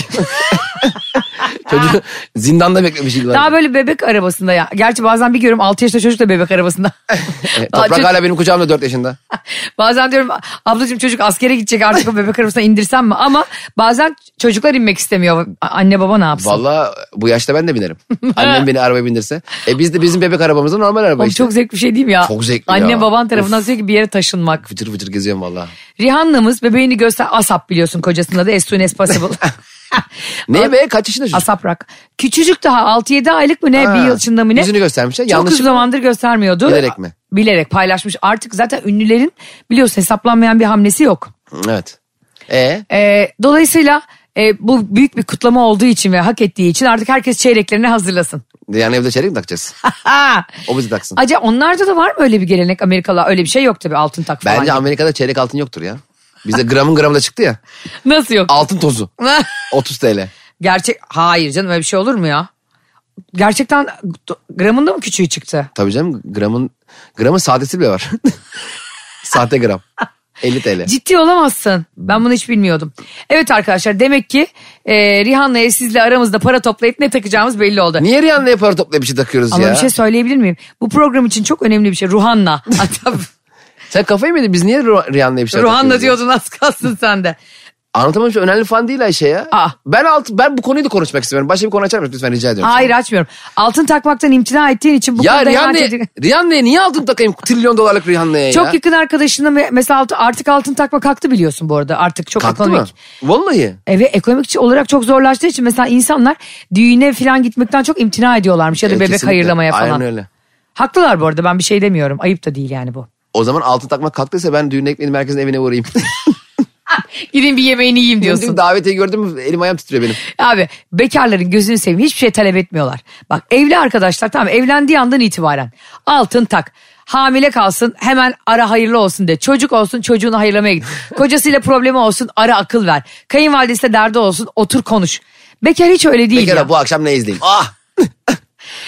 D: Çocuğu zindanda beklemiş yıllar.
C: Daha böyle bebek arabasında ya. Gerçi bazen bir görüyorum 6 yaşında çocuk da bebek arabasında.
D: E,
C: Daha
D: Toprak
C: çocuk-
D: hala benim kucağımda 4 yaşında.
C: Bazen diyorum ablacığım çocuk askere gidecek artık o bebek arabasına indirsem mi? Ama bazen çocuklar inmek istemiyor. A- Anne baba ne yapsın?
D: Valla bu yaşta ben de binerim. Annem beni arabaya bindirse. E biz de bizim bebek arabamızda normal araba
C: Oğlum
D: işte.
C: çok zevkli bir şey değil mi ya?
D: Çok zevkli
C: Anne
D: ya.
C: baban tarafından
D: Of.
C: sürekli bir yere taşınmak.
D: Fıcır fıcır geziyorum valla.
C: Rihanna'mız bebeğini göster... Asap biliyorsun kocasının adı as soon as possible.
D: Ne be kaç yaşında çocuk?
C: Asap rak. Küçücük daha 6-7 aylık mı ne?
D: Ha,
C: bir yıl içinde mi ne?
D: yüzünü göstermişler.
C: Çok
D: Yanlış-
C: uzun zamandır göstermiyordu.
D: Bilerek mi?
C: Bilerek paylaşmış. Artık zaten ünlülerin biliyorsun hesaplanmayan bir hamlesi yok.
D: Evet. E
C: Ee, dolayısıyla e, bu büyük bir kutlama olduğu için ve hak ettiği için artık herkes çeyreklerini hazırlasın.
D: yani evde çeyrek mi takacağız?
C: Ha!
D: O bizi taksın.
C: Acaba onlarda da var mı öyle bir gelenek Amerikalılar? Öyle bir şey yok tabii altın tak falan.
D: Bence Amerika'da çeyrek altın yoktur ya. Bizde gramın gramı da çıktı ya.
C: Nasıl yok?
D: Altın tozu. 30 TL.
C: Gerçek hayır canım öyle bir şey olur mu ya? Gerçekten gramında mı küçüğü çıktı?
D: Tabii canım gramın gramın sahtesi bile var. Sahte gram. 50 TL.
C: Ciddi olamazsın. Ben bunu hiç bilmiyordum. Evet arkadaşlar demek ki e, Rihanna'ya sizle aramızda para toplayıp ne takacağımız belli oldu.
D: Niye Rihanna'ya para toplayıp bir şey takıyoruz
C: Ama
D: ya?
C: bir şey söyleyebilir miyim? Bu program için çok önemli bir şey. Ruhanna. Hatta
D: Sen kafayı mı yedin? Biz niye Ru- Rihanna'ya bir şey
C: Ruhanna
D: takıyoruz ya?
C: diyordun az kalsın sen de.
D: Anlatamamış önemli falan değil Ayşe ya.
C: Aa.
D: Ben altı, ben bu konuyu da konuşmak istiyorum. Başka bir konu açar mısın lütfen rica ediyorum.
C: Hayır açmıyorum. Altın takmaktan imtina ettiğin için bu
D: ya
C: konuda hemen
D: Rihanna'ya
C: çocuk-
D: Rihanna'ya niye altın takayım? Trilyon dolarlık Rihanna'ya ya.
C: Çok yakın arkadaşına me- mesela altı- artık altın takma kalktı biliyorsun bu arada. Artık çok
D: Kalktı
C: ekonomik.
D: mı? Vallahi.
C: Evet ekonomik olarak çok zorlaştığı için mesela insanlar düğüne falan gitmekten çok imtina ediyorlarmış ya da
D: Evet,
C: bebek
D: E, kesinlikle.
C: hayırlamaya falan.
D: Aynen öyle.
C: Haklılar bu arada ben bir şey demiyorum. Ayıp da değil yani bu.
D: O zaman altın takmak kalktıysa ben düğün ekmeğinin merkezine evine uğrayayım.
C: Gidin bir yemeğini yiyeyim diyorsun.
D: Davetiye gördün mü elim ayağım titriyor benim.
C: Abi bekarların gözünü seveyim hiçbir şey talep etmiyorlar. Bak evli arkadaşlar tamam evlendiği andan itibaren altın tak. Hamile kalsın hemen ara hayırlı olsun de. Çocuk olsun çocuğunu hayırlamaya git. Kocasıyla problemi olsun ara akıl ver. Kayınvalidesi de derdi olsun otur konuş. Bekar hiç öyle değil
D: Pekala
C: ya.
D: bu akşam ne izleyeyim? Ah!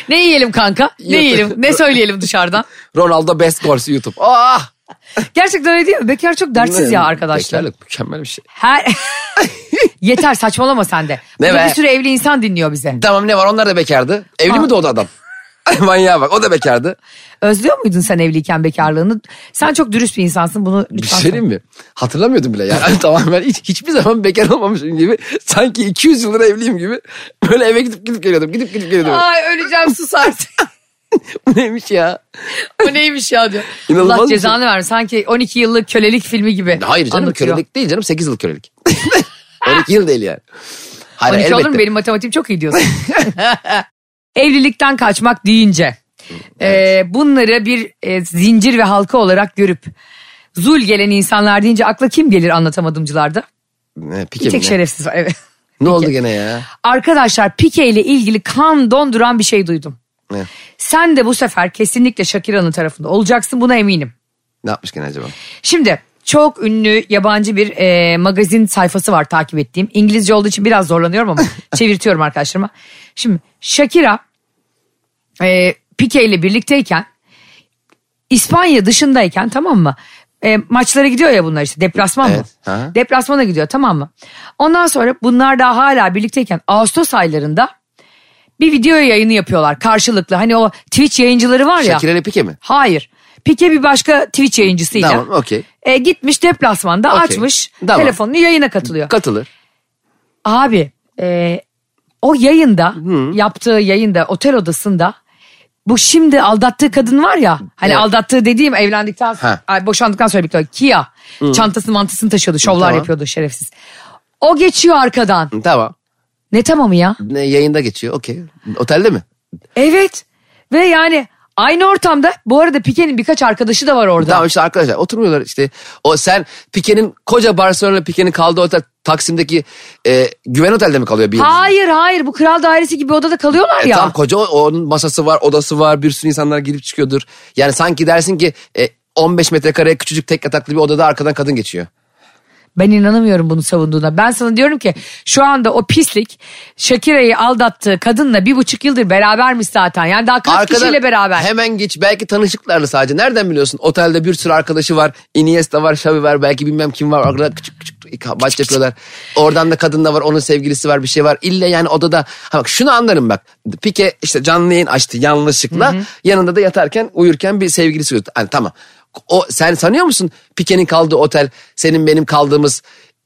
C: Ne yiyelim kanka? Ne yiyelim? Ne söyleyelim dışarıdan?
D: Ronaldo best goals YouTube. Ah!
C: Gerçekten öyle değil mi? Bekar çok dertsiz ya arkadaşlar.
D: Bekarlık mükemmel bir şey.
C: Her... Yeter saçmalama sen de.
D: Ne
C: Burada
D: be?
C: Bir sürü evli insan dinliyor bize.
D: Tamam ne var onlar da bekardı. Evli mi doğdu adam? Manyağa bak o da bekardı.
C: Özlüyor muydun sen evliyken bekarlığını? Sen çok dürüst bir insansın bunu lütfen.
D: Bir şey diyeyim mi? Hatırlamıyordum bile yani. tamamen hiç, hiçbir zaman bekar olmamışım gibi. Sanki 200 yıldır evliyim gibi. Böyle eve gidip gidip geliyordum. Gidip gidip
C: söyle.
D: geliyordum.
C: Ay öleceğim sus artık.
D: Bu neymiş ya?
C: Bu neymiş ya diyor.
D: İnanılmaz
C: Allah
D: bir şey.
C: cezanı versin. Sanki 12 yıllık kölelik filmi gibi.
D: Hayır canım
C: anlatıyor.
D: kölelik değil canım 8 yıl kölelik. 12 yıl değil yani. Hayır
C: 12
D: elbette.
C: olur mu benim matematiğim çok iyi diyorsun. Evlilikten kaçmak deyince e, bunları bir e, zincir ve halka olarak görüp zul gelen insanlar deyince akla kim gelir anlatamadımcılarda?
D: Ne, pike
C: Bir
D: mi
C: tek
D: ne?
C: şerefsiz var. Evet.
D: Ne oldu gene ya?
C: Arkadaşlar Pike ile ilgili kan donduran bir şey duydum.
D: Ne,
C: Sen de bu sefer kesinlikle Shakira'nın tarafında olacaksın buna eminim.
D: ne yapmış gene acaba?
C: Şimdi çok ünlü yabancı bir e, magazin sayfası var takip ettiğim. İngilizce olduğu için biraz zorlanıyorum ama çevirtiyorum arkadaşlarıma. Şimdi Shakira e, Pique ile birlikteyken İspanya dışındayken tamam mı? E, maçlara gidiyor ya bunlar işte deplasman mı?
D: Evet, ha.
C: Deplasmana gidiyor tamam mı? Ondan sonra bunlar daha hala birlikteyken Ağustos aylarında bir video yayını yapıyorlar karşılıklı. Hani o Twitch yayıncıları var ya.
D: Shakira ile Pique mi?
C: Hayır. Pike bir başka Twitch yayıncısıyla.
D: Tamam, okey.
C: E, gitmiş deplasmanda
D: Okey,
C: açmış
D: tamam.
C: telefonunu yayına katılıyor.
D: Katılır.
C: Abi e, o yayında yaptığı yayında otel odasında bu şimdi aldattığı kadın var ya hani
D: Evet.
C: aldattığı dediğim evlendikten sonra
D: Ha.
C: ay, boşandıktan sonra birlikte Kia çantasını mantasını taşıyordu şovlar
D: Tamam.
C: yapıyordu şerefsiz. O geçiyor arkadan.
D: Tamam.
C: Ne tamamı ya?
D: Ne, yayında geçiyor okey. Otelde mi?
C: Evet ve yani aynı ortamda bu arada Pike'nin birkaç arkadaşı da var orada.
D: Tamam işte arkadaşlar oturmuyorlar işte. O sen Pique'nin koca Barcelona Pique'nin kaldığı otel Taksim'deki e, güven otelde mi kalıyor bir yıldızlı?
C: Hayır hayır bu kral dairesi gibi odada kalıyorlar
D: E,
C: ya.
D: Tam koca o- onun masası var, odası var, bir sürü insanlar girip çıkıyordur. Yani sanki dersin ki e, 15 metrekare küçücük tek yataklı bir odada arkadan kadın geçiyor.
C: Ben inanamıyorum bunu savunduğuna. Ben sana diyorum ki şu anda o pislik Shakira'yı aldattığı kadınla bir buçuk yıldır berabermiş zaten. Yani daha kaç
D: Arkadan
C: kişiyle beraber.
D: Hemen geç belki tanışıklarla sadece. Nereden biliyorsun? Otelde bir sürü arkadaşı var. Iniesta var, Xavi var, belki bilmem kim var. Arkadan küçük küçük maç yapıyorlar. Oradan da kadın da var, onun sevgilisi var, bir şey var. İlle yani odada. Ha bak şunu anlarım bak. Pike işte canlı yayın açtı yanlışlıkla. Yanında da yatarken uyurken bir sevgilisi var. Hani tamam. O sen sanıyor musun Pike'nin kaldığı otel senin benim kaldığımız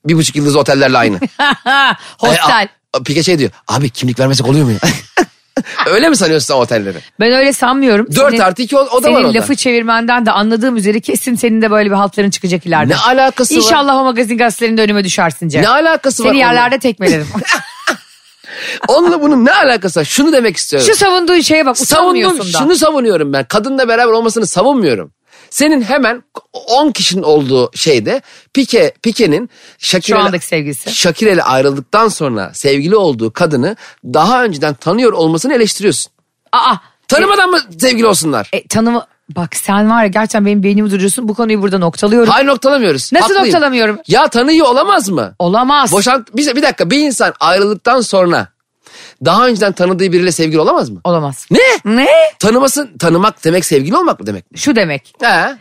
D: bir buçuk yıldız otellerle aynı.
C: Hostel.
D: Ay, a- Pike şey diyor. Abi kimlik vermesek oluyor mu ya? Öyle mi sanıyorsun sen otelleri?
C: Ben öyle sanmıyorum.
D: Dört
C: Senin-
D: artı iki o- o da var
C: Senin
D: orada.
C: lafı çevirmenden de anladığım üzere kesin senin de böyle bir haltların çıkacak ileride.
D: Ne alakası var?
C: İnşallah o magazin gazetelerinde önüme düşersin Cem.
D: Ne alakası var?
C: Seni
D: onunla?
C: yerlerde tekmelerim.
D: Onunla bunun ne alakası var? Şunu demek istiyorum.
C: Şu savunduğun şeye bak utanmıyorsun
D: Savundum,
C: da.
D: şunu savunuyorum ben. Kadınla beraber olmasını savunmuyorum. Senin hemen 10 kişinin olduğu şeyde Pike Pike'nin
C: Şu
D: Shakira
C: andaki sevgilisi.
D: Shakira ile ayrıldıktan sonra sevgili olduğu kadını daha önceden tanıyor olmasını eleştiriyorsun.
C: Aa,
D: Tanımadan mı sevgili olsunlar?
C: e, tanımı... Bak sen var ya gerçekten benim beynimi duruyorsun. Bu konuyu burada noktalıyorum.
D: Hayır noktalamıyoruz.
C: E, Nasıl
D: Haklıyım.
C: noktalamıyorum?
D: Ya tanıyor olamaz mı?
C: Olamaz.
D: Boşan bir, bir dakika bir insan ayrıldıktan sonra daha önceden tanıdığı biriyle sevgili olamaz mı?
C: Olamaz.
D: Ne?
C: Ne?
D: Tanımasın tanımak demek sevgili olmak mı demek? mi?
C: Şu demek.
D: He.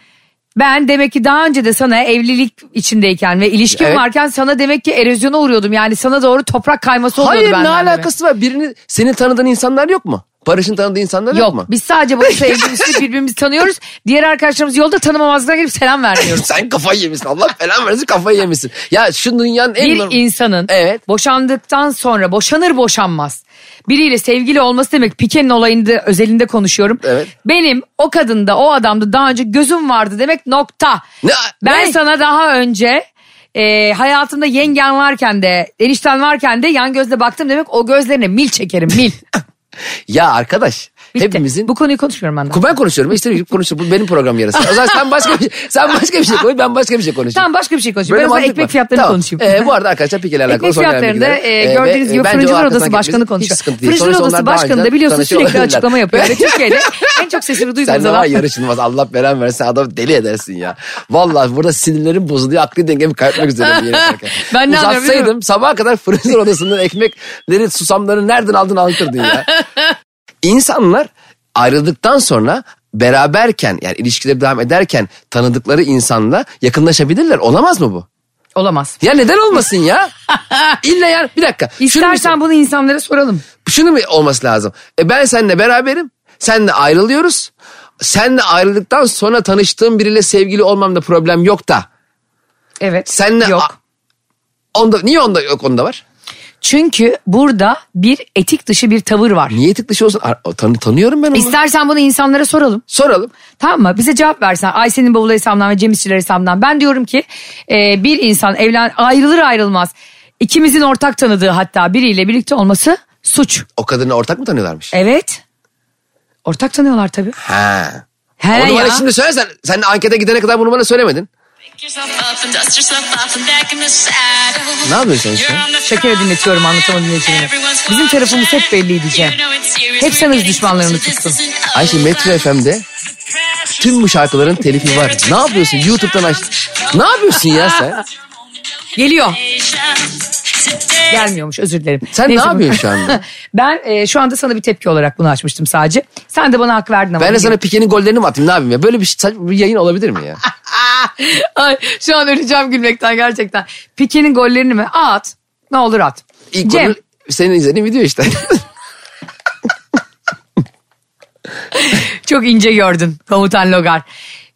C: Ben demek ki daha önce de sana evlilik içindeyken ve ilişkim
D: Evet.
C: varken sana demek ki erozyona uğruyordum. Yani sana doğru toprak kayması oluyordu
D: Hayır ne
C: benden demek.
D: alakası var? Birini senin tanıdığın insanlar yok mu? Barış'ın tanıdığı insanlar yok,
C: Yok
D: mu?
C: biz sadece bu sevgilimizi birbirimizi tanıyoruz. Diğer arkadaşlarımız yolda tanımamazlıktan gelip selam vermiyoruz.
D: Sen kafayı yemişsin. Allah belanı versin kafayı yemişsin. Ya şu dünyanın en...
C: Bir
D: normal-
C: insanın
D: Evet.
C: boşandıktan sonra boşanır boşanmaz biriyle sevgili olması demek Pike'nin olayında özelinde konuşuyorum.
D: Evet.
C: Benim o kadında o adamda daha önce gözüm vardı demek nokta.
D: Ne-
C: Ben
D: ne?
C: sana daha önce e, hayatımda yengen varken de enişten varken de yan gözle baktım demek o gözlerine mil çekerim mil.
D: Ya arkadaş
C: Bitti.
D: hepimizin...
C: Bu konuyu konuşmuyorum ben de.
D: Ben konuşuyorum. İstediğim gibi konuşur. Bu benim program yarısı. O zaman sen başka bir, sen başka bir şey konuş. Ben başka bir şey konuşayım.
C: Tamam başka bir şey konuşayım. Ben o
D: Böyle
C: zaman
D: mantık
C: ekmek
D: var.
C: fiyatlarını
D: Tamam.
C: konuşayım.
D: Ee, bu arada arkadaşlar Pike'le alakalı
C: Ekmek
D: son gelen
C: fiyatlarında
D: bilgiler.
C: e,
D: Ee,
C: gördüğünüz
D: ve,
C: gibi
D: e, bence o
C: Fırıncılar
D: arkasından
C: Odası Başkanı
D: gitmesi hiç
C: konuşuyor.
D: sıkıntı değil.
C: Fırıncılar
D: Sonuçta
C: Odası
D: onlar daha
C: Başkanı da
D: önceden
C: biliyorsun
D: tanışıyor
C: sürekli
D: olabilirler.
C: açıklama yapıyor. Ve Türkiye'de en çok sesini
D: Sen
C: duyduğumuz
D: ne var
C: adam.
D: yarışılmaz Allah beren versin adam deli edersin ya. Vallahi burada sinirlerim bozuluyor akli dengemi kaybetmek üzere. bir yere giderken.
C: Ben ne anlıyorum biliyor musun?
D: Uzatsaydım sabaha kadar fırıncılar odasından ekmekleri susamları nereden aldın anlatırdın ya. İnsanlar ayrıldıktan sonra beraberken yani ilişkileri devam ederken tanıdıkları insanla yakınlaşabilirler. Olamaz mı bu?
C: Olamaz.
D: Ya neden olmasın ya? İlla yani bir dakika. Şunu mu-
C: İstersen bunu insanlara soralım.
D: şunu mu olması lazım? E ben seninle beraberim. Senle ayrılıyoruz. Senle ayrıldıktan sonra tanıştığım biriyle sevgili olmamda problem yok da.
C: Evet.
D: Senle
C: Yok.
D: A- onda, niye onda yok onda var?
C: Çünkü burada bir etik dışı bir tavır var.
D: Niye etik dışı olsun? Ar- tan- tanıyorum ben onu.
C: İstersen bunu insanlara soralım.
D: Soralım.
C: Tamam mı? Bize cevap versen. Ayşe'nin bavulu hesabından ve Cem İşçiler hesabından. Ben diyorum ki e, bir insan evlen ayrılır ayrılmaz. ikimizin ortak tanıdığı hatta biriyle birlikte olması suç.
D: O kadını ortak mı tanıyorlarmış?
C: Evet. Ortak tanıyorlar tabii.
D: Ha.
C: He
D: onu
C: ya.
D: bana şimdi söylesen. Sen ankete gidene kadar bunu bana söylemedin.
F: Pick yourself up and dust yourself off and back in the saddle.
D: Ne yapıyorsun sen şu an?
F: Şeker dinletiyorum anlatamam dinleyicilerine. Bizim tarafımız hep belliydi Cem. Hep sen öz düşmanlarını tuttun.
D: Ayşe Metro FM'de Tüm bu şarkıların telifi var. Ne yapıyorsun? YouTube'dan aç. Ne yapıyorsun ya sen?
C: Geliyor. Gelmiyormuş özür dilerim.
D: Sen ne
C: bu-
D: yapıyorsun şu anda?
C: ben e, şu anda sana bir tepki olarak bunu açmıştım sadece. Sen de bana hak verdin ama.
D: Ben de sana Pike'nin gollerini mi atayım ne yapayım ya? Böyle bir, şey- saçma bir yayın olabilir mi ya?
C: Ah! Ay, şu an öleceğim gülmekten gerçekten. Pike'nin gollerini mi? At. Ne olur at.
D: İlk
C: Cem
D: golü senin izlediğin video işte.
C: çok ince gördün komutan Logar.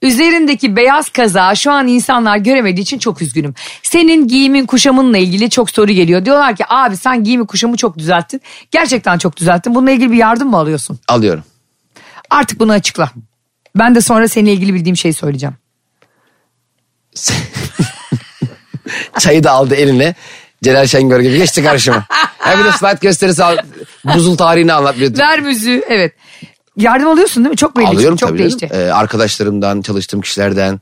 C: Üzerindeki beyaz kazağı şu an insanlar göremediği için çok üzgünüm. Senin giyimin kuşamınla ilgili çok soru geliyor. Diyorlar ki abi sen giyimi kuşamı çok düzelttin. Gerçekten çok düzelttin. Bununla ilgili bir yardım mı alıyorsun?
D: Alıyorum.
C: Artık bunu açıkla. Ben de sonra seninle ilgili bildiğim şeyi söyleyeceğim.
D: Çayı da aldı eline. Celal Şengör gibi geçti karşıma. Hem bir de slide gösterisi al. Buzul tarihini anlat. bir-
C: Ver müziği evet. Yardım alıyorsun değil mi? Çok belli.
D: Alıyorum
C: çok
D: tabii.
C: değişti.
D: canım. Ee, arkadaşlarımdan, çalıştığım kişilerden,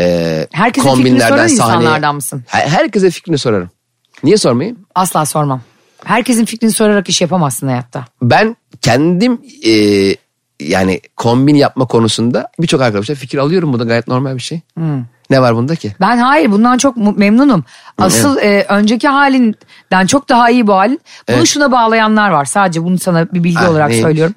D: e,
C: Herkese fikrini
D: kombinlerden,
C: soran
D: sahneye.
C: insanlardan mısın?
D: Her- herkese fikrini sorarım. Niye sormayayım?
C: Asla sormam. Herkesin fikrini sorarak iş yapamazsın hayatta.
D: ben kendim e, yani kombin yapma konusunda birçok arkadaşlar fikir alıyorum. Bu da gayet normal bir şey.
C: Hmm.
D: Ne var bunda ki?
C: Ben hayır bundan çok mu- memnunum. Asıl e, önceki halinden çok daha iyi bu halin. Bunu
D: Evet.
C: şuna bağlayanlar var. Sadece bunu sana bir bilgi
D: Ah,
C: olarak
D: neymiş?
C: söylüyorum.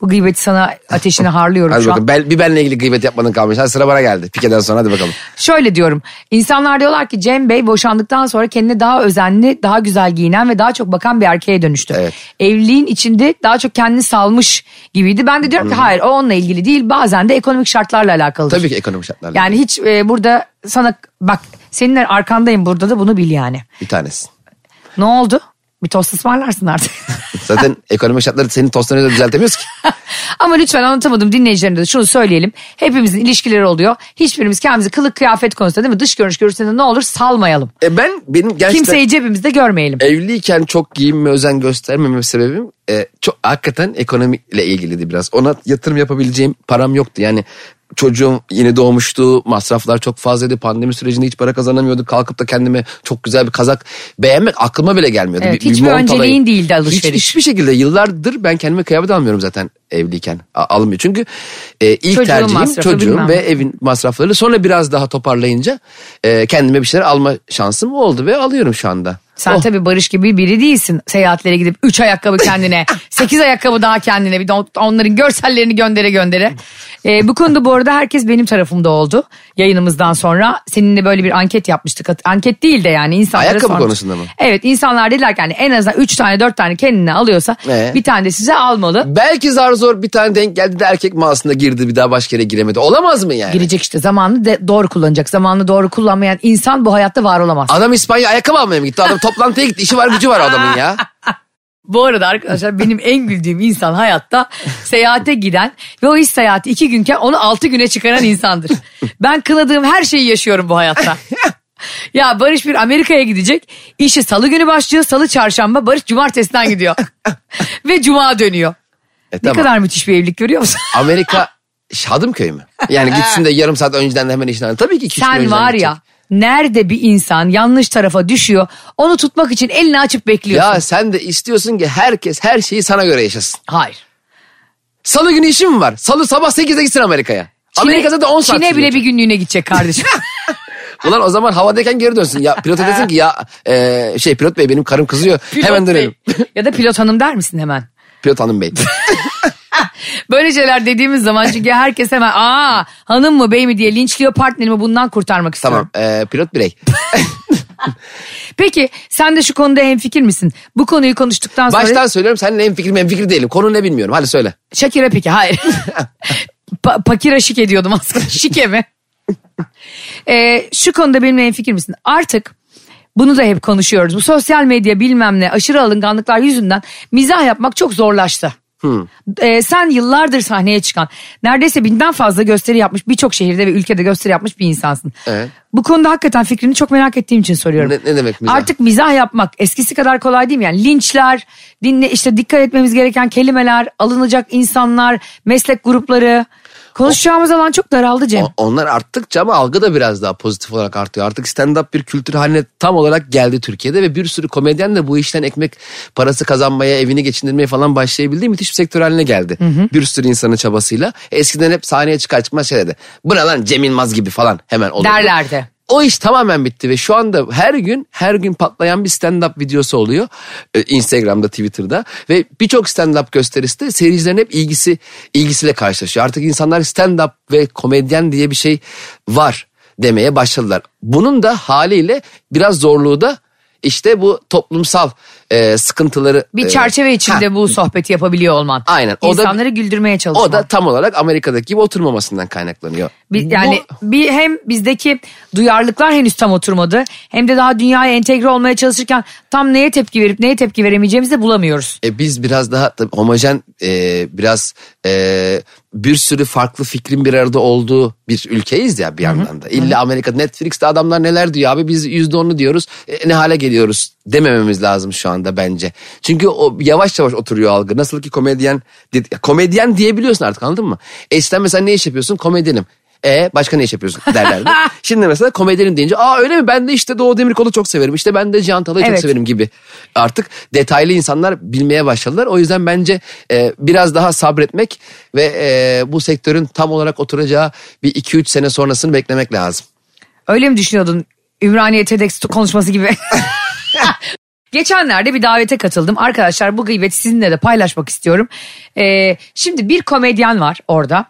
C: Bu gıybeti sana ateşini harlıyorum
D: Hadi
C: şu an.
D: bakalım. Ben, bir benle ilgili gıybet yapmadın kalmış. Hadi sıra bana geldi. Pike'den sonra hadi bakalım.
C: Şöyle diyorum. İnsanlar diyorlar ki Cem Bey boşandıktan sonra kendine daha özenli, daha güzel giyinen ve daha çok bakan bir erkeğe dönüştü.
D: Evet.
C: Evliliğin içinde daha çok kendini salmış gibiydi. Ben de diyorum ki hayır o onunla ilgili değil. Bazen de ekonomik şartlarla alakalı.
D: Tabii ki ekonomik şartlarla.
C: Yani hiç e, burada sana bak senin arkandayım burada da bunu bil yani.
D: Bir tanesi.
C: Ne oldu? Bir tost ısmarlarsın artık.
D: Zaten ekonomik şartları senin tostlarını da düzeltemiyoruz ki.
C: Ama lütfen anlatamadım dinleyicilerine de şunu söyleyelim. Hepimizin ilişkileri oluyor. Hiçbirimiz kendimizi kılık kıyafet konusunda değil mi? Dış görünüş görüntüsünde ne olur salmayalım.
D: E ben benim gerçekten
C: Kimseyi cebimizde görmeyelim.
D: evliyken çok giyinme özen göstermemem sebebim e, çok hakikaten ekonomikle ilgiliydi biraz. Ona yatırım yapabileceğim param yoktu. Yani çocuğum yeni doğmuştu, masraflar çok fazlaydı. Pandemi sürecinde hiç para kazanamıyorduk. Kalkıp da kendime çok güzel bir kazak beğenmek aklıma bile gelmiyordu.
C: Evet, hiçbir
D: mont
C: önceliğin
D: alayım.
C: değildi
D: Hiç-
C: alışveriş.
D: hiçbir şekilde yıllardır ben kendime kıyafet almıyorum zaten evliyken. A- almıyor. Çünkü e, ilk
C: Çocuğun
D: tercihim
C: masrafı,
D: çocuğum
C: bilmem
D: ve
C: ne.
D: evin masrafları. Sonra biraz daha toparlayınca e, kendime bir şeyler alma şansım oldu ve alıyorum şu anda.
C: Sen
D: Oh.
C: tabii Barış gibi biri değilsin. Seyahatlere gidip 3 ayakkabı kendine, 8 ayakkabı daha kendine. Bir de on- onların görsellerini göndere göndere. Ee, bu konuda bu arada herkes benim tarafımda oldu. Yayınımızdan sonra seninle böyle bir anket yapmıştık. Hat- Anket değil de yani insanlara
D: Ayakkabı
C: sormuş-
D: konusunda mı?
C: Evet insanlar dediler ki yani en azından 3 tane 4 tane kendine alıyorsa
D: Ee?
C: bir tane de size almalı.
D: Belki zar zor bir tane denk geldi de erkek mağazasına girdi bir daha başka yere giremedi. Olamaz mı yani?
C: Girecek işte zamanını de doğru kullanacak. Zamanını doğru kullanmayan insan bu hayatta var olamaz.
D: Adam İspanya ayakkabı almaya mı gitti? Adam toplantıya gitti. İşi var gücü var adamın ya.
C: Bu arada arkadaşlar benim en güldüğüm insan hayatta seyahate giden ve o iş seyahati iki günken onu altı güne çıkaran insandır. Ben kınadığım her şeyi yaşıyorum bu hayatta. Ya Barış bir Amerika'ya gidecek. İşi salı günü başlıyor. Salı çarşamba Barış cumartesiden gidiyor. ve cuma dönüyor.
D: E,
C: Ne
D: tamam.
C: kadar müthiş bir evlilik görüyor musun?
D: Amerika Şadımköy mü? Yani gitsin de yarım saat önceden de hemen işten. Tabii ki iki üç gün
C: Sen
D: önceden
C: var
D: gidecek.
C: ya nerede bir insan yanlış tarafa düşüyor onu tutmak için elini açıp bekliyorsun.
D: Ya sen de istiyorsun ki herkes her şeyi sana göre yaşasın.
C: Hayır.
D: Salı günü işim var. Salı sabah 8'de gitsin Amerika'ya. Amerika'da da 10 saat.
C: Çin'e
D: sürüyor.
C: bile bir günlüğüne gidecek kardeşim.
D: Ulan o zaman havadayken geri dönsün. Ya pilota desin ki ya e, şey pilot bey benim karım kızıyor.
C: Pilot
D: hemen
C: bey.
D: dönelim.
C: ya da pilot hanım der misin hemen?
D: Pilot hanım bey.
C: Böyle şeyler dediğimiz zaman çünkü herkes hemen aa hanım mı bey mi diye linçliyor partnerimi bundan kurtarmak istiyorum.
D: tamam e, pilot birey.
C: Peki sen de şu konuda hemfikir misin? Bu konuyu konuştuktan sonra
D: Baştan söylüyorum seninle en fikir en fikir değilim. Konu ne bilmiyorum. Hadi söyle.
C: Şakir'e peki hayır. pa- Pakira şik ediyordum aslında. Şike mi? Ee, şu konuda benimle en fikir misin? Artık bunu da hep konuşuyoruz. Bu sosyal medya bilmem ne aşırı alınganlıklar yüzünden mizah yapmak çok zorlaştı. Ee, sen yıllardır sahneye çıkan neredeyse binden fazla gösteri yapmış birçok şehirde ve ülkede gösteri yapmış bir insansın.
D: Evet.
C: Bu konuda hakikaten fikrini çok merak ettiğim için soruyorum.
D: Ne- ne demek mizah?
C: Artık mizah yapmak eskisi kadar kolay değil mi? Yani linçler, dinle işte dikkat etmemiz gereken kelimeler, alınacak insanlar, meslek grupları. Konuşacağımız alan çok daraldı Cem.
D: O- Onlar arttıkça ama algı da biraz daha pozitif olarak artıyor. Artık stand-up bir kültür haline tam olarak geldi Türkiye'de ve bir sürü komedyen de bu işten ekmek parası kazanmaya, evini geçindirmeye falan başlayabildiği müthiş bir sektör haline geldi. Bir sürü insanın çabasıyla. Eskiden hep sahneye çıkar çıkmaz şey dedi. Bu ne lan Cem Yılmaz gibi falan hemen olurdu.
C: Derlerdi.
D: O iş tamamen bitti ve şu anda her gün her gün patlayan bir stand-up videosu oluyor. Ee, Instagram'da, Twitter'da ve birçok stand-up gösterisi de seyircilerin hep ilgisi ilgisiyle karşılaşıyor. Artık insanlar stand-up ve komedyen diye bir şey var demeye başladılar. Bunun da haliyle biraz zorluğu da işte bu toplumsal e, sıkıntıları
C: Bir
D: e,
C: çerçeve içinde
D: ha,
C: bu sohbeti yapabiliyor olman.
D: Aynen. O da-
C: İnsanları güldürmeye çalışman.
D: o da tam olarak Amerika'daki gibi oturmamasından kaynaklanıyor.
C: Bir- yani bir hem bizdeki duyarlılıklar henüz tam oturmadı hem de daha dünyaya entegre olmaya çalışırken tam neye tepki verip neye tepki veremeyeceğimizi de bulamıyoruz.
D: E, biz biraz daha tabii homojen e, biraz e, bir sürü farklı fikrin bir arada olduğu bir ülkeyiz ya bir yandan da. İlla Amerika Netflix'te adamlar neler diyor abi biz yüzde onu diyoruz e, ne hale geliyoruz demememiz lazım şu anda bence. Çünkü o yavaş yavaş oturuyor algı. Nasıl ki komedyen dedi- komedyen diyebiliyorsun artık anladın mı? Eskiden mesela ne iş yapıyorsun komedyenim. E başka ne iş yapıyorsun derlerdi. Şimdi mesela komedyenim deyince aa öyle mi ben de işte Doğu Demirkol'u çok severim. İşte ben de Cihan Talay'ı
C: Evet.
D: çok severim gibi. Artık detaylı insanlar bilmeye başladılar. O yüzden bence e, biraz daha sabretmek ve e, bu sektörün tam olarak oturacağı bir 2-3 sene sonrasını beklemek lazım.
C: Öyle mi düşünüyordun? Ümraniye TEDx konuşması gibi. Geçenlerde bir davete katıldım. Arkadaşlar bu gıybeti sizinle de paylaşmak istiyorum. Ee, şimdi bir komedyen var orada.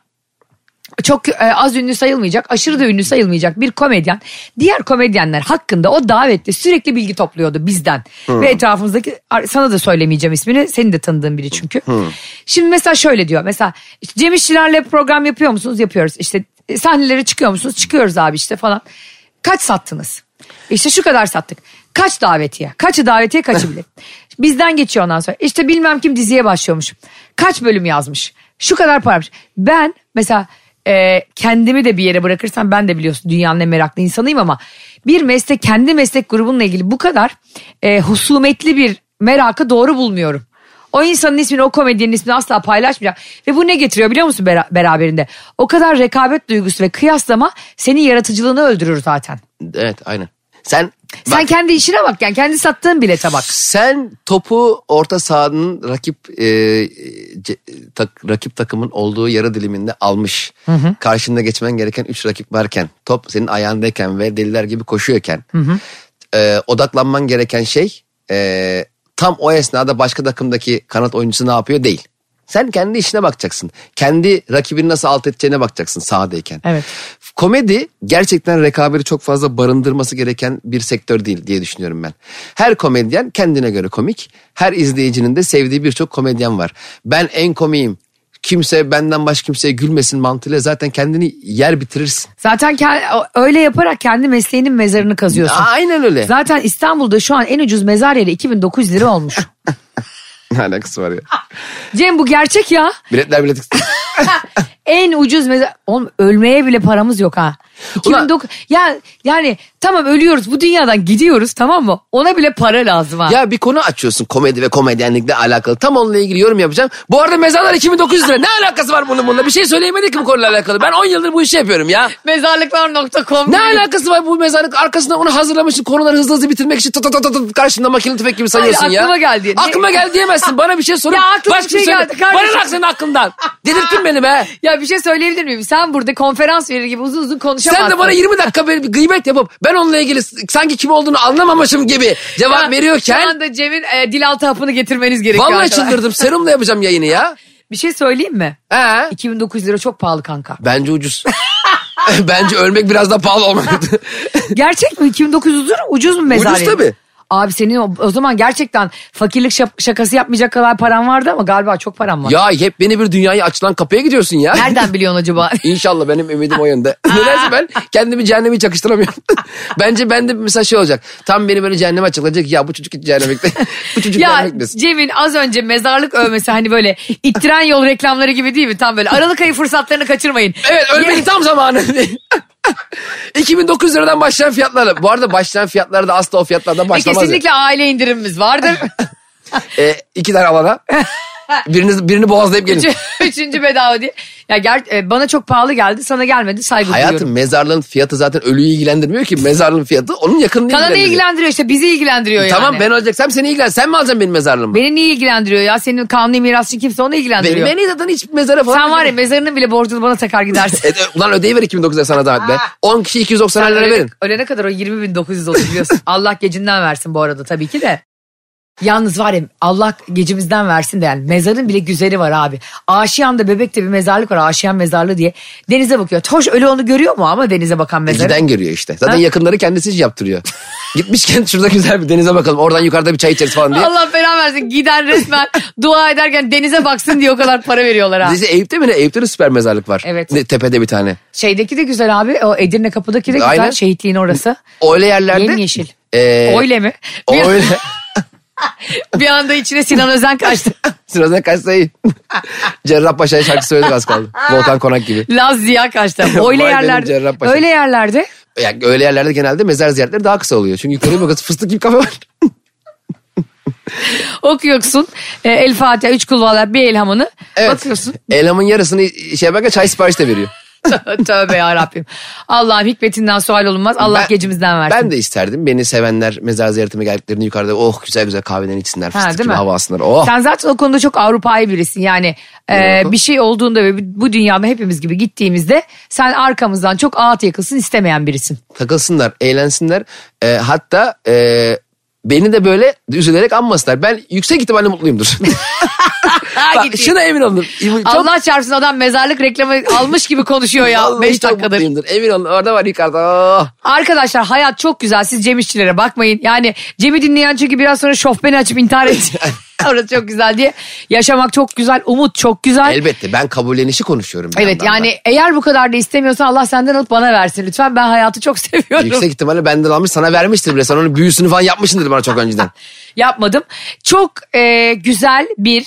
C: Çok e, az ünlü sayılmayacak, aşırı da ünlü sayılmayacak bir komedyen. Diğer komedyenler hakkında o davette sürekli bilgi topluyordu bizden. Ve etrafımızdaki, sana da söylemeyeceğim ismini. Seni de tanıdığın biri çünkü. Şimdi mesela şöyle diyor. Mesela işte Cem İşçilerle program yapıyor musunuz? Yapıyoruz. İşte e, sahnelere çıkıyor musunuz? Çıkıyoruz abi işte falan. Kaç sattınız? İşte şu kadar sattık. Kaç davetiye? Kaçı davetiye kaçı bilet? Bizden geçiyor ondan sonra. İşte bilmem kim diziye başlıyormuş. Kaç bölüm yazmış? Şu kadar paraymış. Ben mesela e, kendimi de bir yere bırakırsam ben de biliyorsun dünyanın en meraklı insanıyım ama bir meslek kendi meslek grubunla ilgili bu kadar e, husumetli bir merakı doğru bulmuyorum. O insanın ismini o komedyenin ismini asla paylaşmayacak. Ve bu ne getiriyor biliyor musun bera- beraberinde? O kadar rekabet duygusu ve kıyaslama senin yaratıcılığını öldürür zaten.
D: Evet aynen. Sen
C: Sen kendi işine bak yani kendi sattığın bilete bak.
D: Sen topu orta sahanın rakip e, ce- tak- rakip takımın olduğu yarı diliminde almış. Karşında geçmen gereken 3 rakip varken, top senin ayağındayken ve deliler gibi koşuyorken. e, odaklanman gereken şey e, tam o esnada başka takımdaki kanat oyuncusu ne yapıyor değil. Sen kendi işine bakacaksın. Kendi rakibini nasıl alt edeceğine bakacaksın sahadayken.
C: Evet.
D: Komedi gerçekten rekabeti çok fazla barındırması gereken bir sektör değil diye düşünüyorum ben. Her komedyen kendine göre komik. Her izleyicinin de sevdiği birçok komedyen var. Ben en komiyim. Kimse benden başka kimseye gülmesin mantığıyla zaten kendini yer bitirirsin.
C: Zaten ke- öyle yaparak kendi mesleğinin mezarını kazıyorsun.
D: Aynen öyle.
C: Zaten İstanbul'da şu an en ucuz mezar yeri 2900 lira olmuş.
D: ne alakası var ya?
C: Cem bu gerçek ya.
D: Biletler bilet.
C: En ucuz mezar. Oğlum ölmeye bile paramız yok ha. 2009 ya yani tamam ölüyoruz bu dünyadan gidiyoruz tamam mı? Ona bile para lazım ha.
D: ya bir konu açıyorsun komedi ve komedyenlikle alakalı. Tam onunla ilgili yorum yapacağım. Bu arada mezarlar 2900 lira. Ne alakası var bunun bununla? Bir şey söyleyemedik ki bu konuyla alakalı. Ben 10 yıldır bu işi yapıyorum ya.
C: Mezarlıklar.com
D: Ne alakası var bu mezarlık arkasında onu hazırlamışsın konuları hızlı hızlı bitirmek için tut tut tut tut karşında makine tüfek gibi sayıyorsun
C: Hayır,
D: ya.
C: aklıma geldi. Ne-
D: Aklıma geldi diyemezsin bana bir şey sorup
C: Ya aklıma
D: başka
C: bir şey
D: söyle.
C: geldi kardeşim.
D: Bana bak senin aklından. Delirttin beni be.
C: Ya bir şey söyleyebilir miyim? Sen burada konferans verir gibi uzun uzun konuşamazsın.
D: Sen de bana 20 dakika böyle bir gıybet yapıp ben onunla ilgili sanki kim olduğunu anlamamışım gibi cevap
C: Şu an- Şu
D: veriyorken
C: anda Cem'in e, dil altı hapını getirmeniz gerekiyor.
D: vallahi
C: arkadaşlar.
D: çıldırdım serumla yapacağım yayını ya.
C: Bir şey söyleyeyim mi?
D: He.
C: 2900 lira çok pahalı kanka.
D: Bence ucuz. Bence ölmek biraz daha pahalı olmadı.
C: Gerçek mi? 2900 lira ucuz mu mezar
D: Ucuz
C: yeri?
D: tabii.
C: Abi senin o, o zaman gerçekten fakirlik şap- şakası yapmayacak kadar paran vardı ama galiba çok paran var.
D: ya hep beni bir dünyaya açılan kapıya gidiyorsun ya.
C: Nereden biliyorsun acaba?
D: İnşallah benim ümidim o yönde. Nedense ben kendimi cehenneme hiç yakıştıramıyorum. Bence bende mesela şey olacak. Tam beni böyle cehenneme açılacak. Ya bu çocuk hiç cehenneme gitmez. bu çocuk cehenneme
C: ya
D: gitmesin.
C: Cem'in az önce mezarlık övmesi hani böyle ittiren yol reklamları gibi değil mi? Tam böyle Aralık ayı fırsatlarını kaçırmayın.
D: Evet ölmenin
C: Ye-
D: tam zamanı. 2900 liradan başlayan fiyatlarla. Bu arada başlayan fiyatlar da asla o fiyatlardan
C: Ve
D: başlamaz. ya.
C: kesinlikle aile indirimimiz vardır.
D: Ee, iki tane alana. Birini, birini boğazlayıp gelin.
C: Üçüncü bedava diye. Ya ger- e, bana çok pahalı geldi sana gelmedi saygı
D: Hayatım
C: duyuyorum.
D: mezarlığın fiyatı zaten ölüyü ilgilendirmiyor ki. Mezarlığın fiyatı onun yakınını
C: Sana ne ilgilendiriyor işte bizi ilgilendiriyor
D: Tamam
C: yani.
D: ben olacaksam seni ilgilen. Sen mi alacaksın benim mezarlığımı?
C: Beni niye ilgilendiriyor ya senin kanuni mirasçın kimse onu
D: Benim
C: ilgilendiriyor.
D: en iyi zaten hiç mezara falan.
C: Sen var ya mezarının bile borcunu bana takar gidersin.
D: E, de- ulan ödeyiver 2009 lira sana zahmet be. 10 kişi 290 lira
C: ölene,
D: verin.
C: ölene kadar o 20.900 olur biliyorsun. Allah gecinden versin bu arada tabii ki de. Yalnız var ya Allah gecimizden versin de yani mezarın bile güzeli var abi. Aşiyan'da bebekte bir mezarlık var Aşiyan mezarlığı diye. Denize bakıyor. Hoş öyle onu görüyor mu ama denize bakan mezarı?
D: Giden görüyor işte. Zaten
C: Ha?
D: yakınları kendisi yaptırıyor. Gitmişken şurada güzel bir denize bakalım. Oradan yukarıda bir çay içeriz falan diye.
C: Allah fena versin. Giden resmen dua ederken denize baksın diye o kadar para veriyorlar ha.
D: Dizi Eyüp'te mi ne? Eyüp'te de süper mezarlık var.
C: Evet.
D: Ne, tepede bir tane.
C: Şeydeki de güzel abi. O Edirne kapıdaki de güzel.
D: Aynen.
C: Şehitliğin orası.
D: Öyle yerlerde.
C: Yemyeşil.
D: Ee,
C: Öyle mi? Bir,
D: Öyle.
C: bir anda içine Sinan Özen kaçtı.
D: Sırasına kaçsa iyi. Cerrahpaşa'ya şarkı söyledik az kaldı. Volkan Konak gibi.
C: Laz Ziya kaçtı.
D: Vay
C: Öyle
D: benim
C: yerlerde.
D: Cerrahpaşa.
C: Öyle yerlerde.
D: Yani öyle yerlerde genelde mezar ziyaretleri daha kısa oluyor. Çünkü yukarıya bakıyorsun fıstık gibi kafe var.
C: Okuyorsun. e, El Fatiha, üç kulvalla bir elhamını.
D: Evet.
C: Bakıyorsun.
D: Elhamın yarısını şey yaparken çay sipariş de veriyor.
C: Tövbe yarabbim. Allah'ım hikmetinden sual olunmaz. Allah
D: Ben-
C: gecimizden versin.
D: Ben de isterdim. Beni sevenler mezar ziyaretime geldiklerinde yukarıda oh güzel güzel kahveden içsinler.
C: Ha,
D: Fıstık gibi
C: değil mi?
D: hava alsınlar. Oh.
C: Sen zaten o konuda çok Avrupa'yı birisin. Yani e,
D: Europa.
C: bir şey olduğunda ve bu dünyada hepimiz gibi gittiğimizde sen arkamızdan çok ağat yakılsın istemeyen birisin.
D: takılsınlar, eğlensinler. Ee, hatta e, beni de böyle üzülerek anmasınlar. Ben yüksek ihtimalle mutluyumdur.
C: Ha,
D: Bak, şuna emin olun. Çok,
C: Allah çarpsın adam mezarlık reklamı almış gibi konuşuyor ya
D: Vallahi
C: 5
D: çok
C: dakikadır.
D: mutluyumdur. Emin olun orada var yukarıda. Oh.
C: Arkadaşlar hayat çok güzel siz Cem İşçilere bakmayın. Yani Cem'i dinleyen çünkü biraz sonra şofbeni açıp intihar edecek. Orası çok güzel diye. Yaşamak çok güzel, umut çok güzel.
D: Elbette ben kabullenişi konuşuyorum. bir
C: Evet
D: yandan da.
C: yani eğer bu kadar da istemiyorsan Allah senden alıp bana versin lütfen. Ben hayatı çok seviyorum.
D: Yüksek ihtimalle benden almış sana vermiştir bile. Sen onun büyüsünü falan yapmışsındır bana çok önceden.
C: yapmadım. Çok e, güzel bir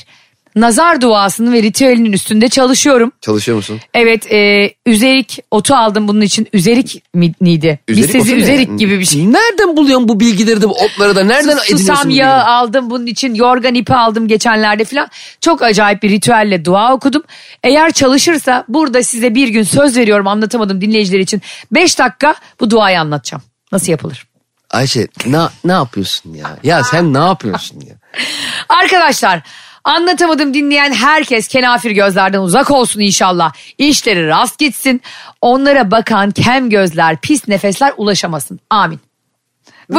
C: nazar duasının ve ritüelinin üstünde çalışıyorum.
D: Çalışıyor musun?
C: Evet e, üzerik otu aldım bunun için. Üzerik miydi?
D: Üzerik
C: Bir sesi
D: otu ne?
C: üzerik gibi bir şey.
D: Nereden buluyorsun bu bilgileri de bu otları da? Nereden ediniyorsun?
C: Susam
D: bu
C: yağı
D: bilgileri?
C: aldım bunun için. Yorgan ipi aldım geçenlerde falan. Çok acayip bir ritüelle dua okudum. Eğer çalışırsa burada size bir gün söz veriyorum anlatamadım dinleyiciler için. 5 dakika bu duayı anlatacağım. Nasıl yapılır?
D: Ayşe ne, ne yapıyorsun ya? Ya sen ne yapıyorsun ya?
C: Arkadaşlar anlatamadım dinleyen herkes kenafir gözlerden uzak olsun inşallah. İşleri rast gitsin. Onlara bakan kem gözler, pis nefesler ulaşamasın. Amin.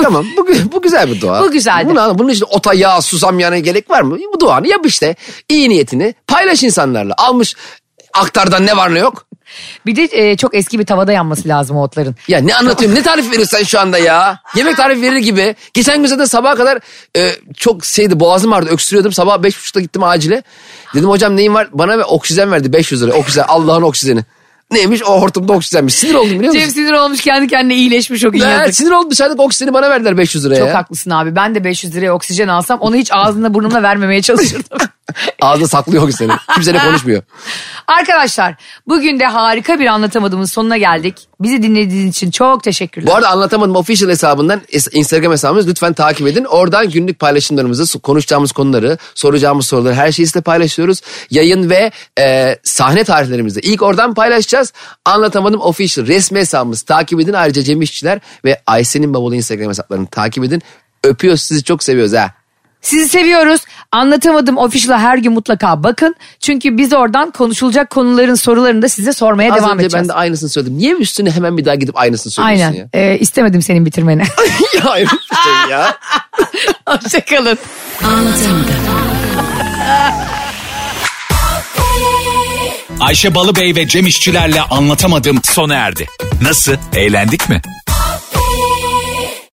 D: tamam bu, gü- bu güzel bir dua.
C: Bu güzeldi.
D: Buna, bunun için ota, yağ, susam yağına gerek var mı? Bu duanı yap işte. İyi niyetini paylaş insanlarla. Almış aktardan ne var ne yok.
C: Bir de e, çok eski bir tavada yanması lazım o otların.
D: Ya ne anlatıyorum ne tarif veriyorsun sen şu anda ya? Yemek tarifi verir gibi. Geçen gün zaten sabaha kadar e, çok şeydi boğazım vardı öksürüyordum. Sabah beş buçukta gittim acile. Dedim hocam neyin var? Bana bir oksijen verdi 500 lira. Oksijen Allah'ın oksijeni. Neymiş o hortumda oksijenmiş. Sinir oldum biliyor
C: Cem
D: musun?
C: sinir olmuş kendi kendine iyileşmiş o gün
D: Ben
C: yazık.
D: Ee, sinir oldum dışarıdaki oksijeni bana verdiler 500 liraya.
C: Çok
D: ya.
C: haklısın abi. Ben de 500 liraya oksijen alsam onu hiç ağzına burnumla vermemeye çalışırdım.
D: Ağzı saklıyor oksijeni. Kimseyle konuşmuyor.
C: Arkadaşlar bugün de harika bir anlatamadığımın sonuna geldik. Bizi dinlediğiniz için çok teşekkürler.
D: Bu arada anlatamadım official hesabından es- Instagram hesabımız lütfen takip edin. Oradan günlük paylaşımlarımızı, su- konuşacağımız konuları, soracağımız soruları her şeyi size paylaşıyoruz. Yayın ve e, sahne tarihlerimizi ilk oradan paylaşacağız. Anlatamadım official resmi hesabımızı takip edin. Ayrıca Cem İşçiler ve Ayşe'nin babalı Instagram hesaplarını takip edin. Öpüyoruz sizi çok seviyoruz ha.
C: Sizi seviyoruz. Anlatamadım official'a her gün mutlaka bakın. Çünkü biz oradan konuşulacak konuların sorularını da size sormaya
D: Az
C: devam
D: önce
C: edeceğiz.
D: ben de aynısını söyledim. Niye üstüne hemen bir daha gidip aynısını söylüyorsun
C: Aynen.
D: ya?
C: Ee, istemedim senin bitirmeni.
D: ya hayır bir şey ya.
C: Hoşçakalın.
A: Ayşe Balıbey ve Cem İşçilerle anlatamadım sona erdi. Nasıl? Eğlendik mi?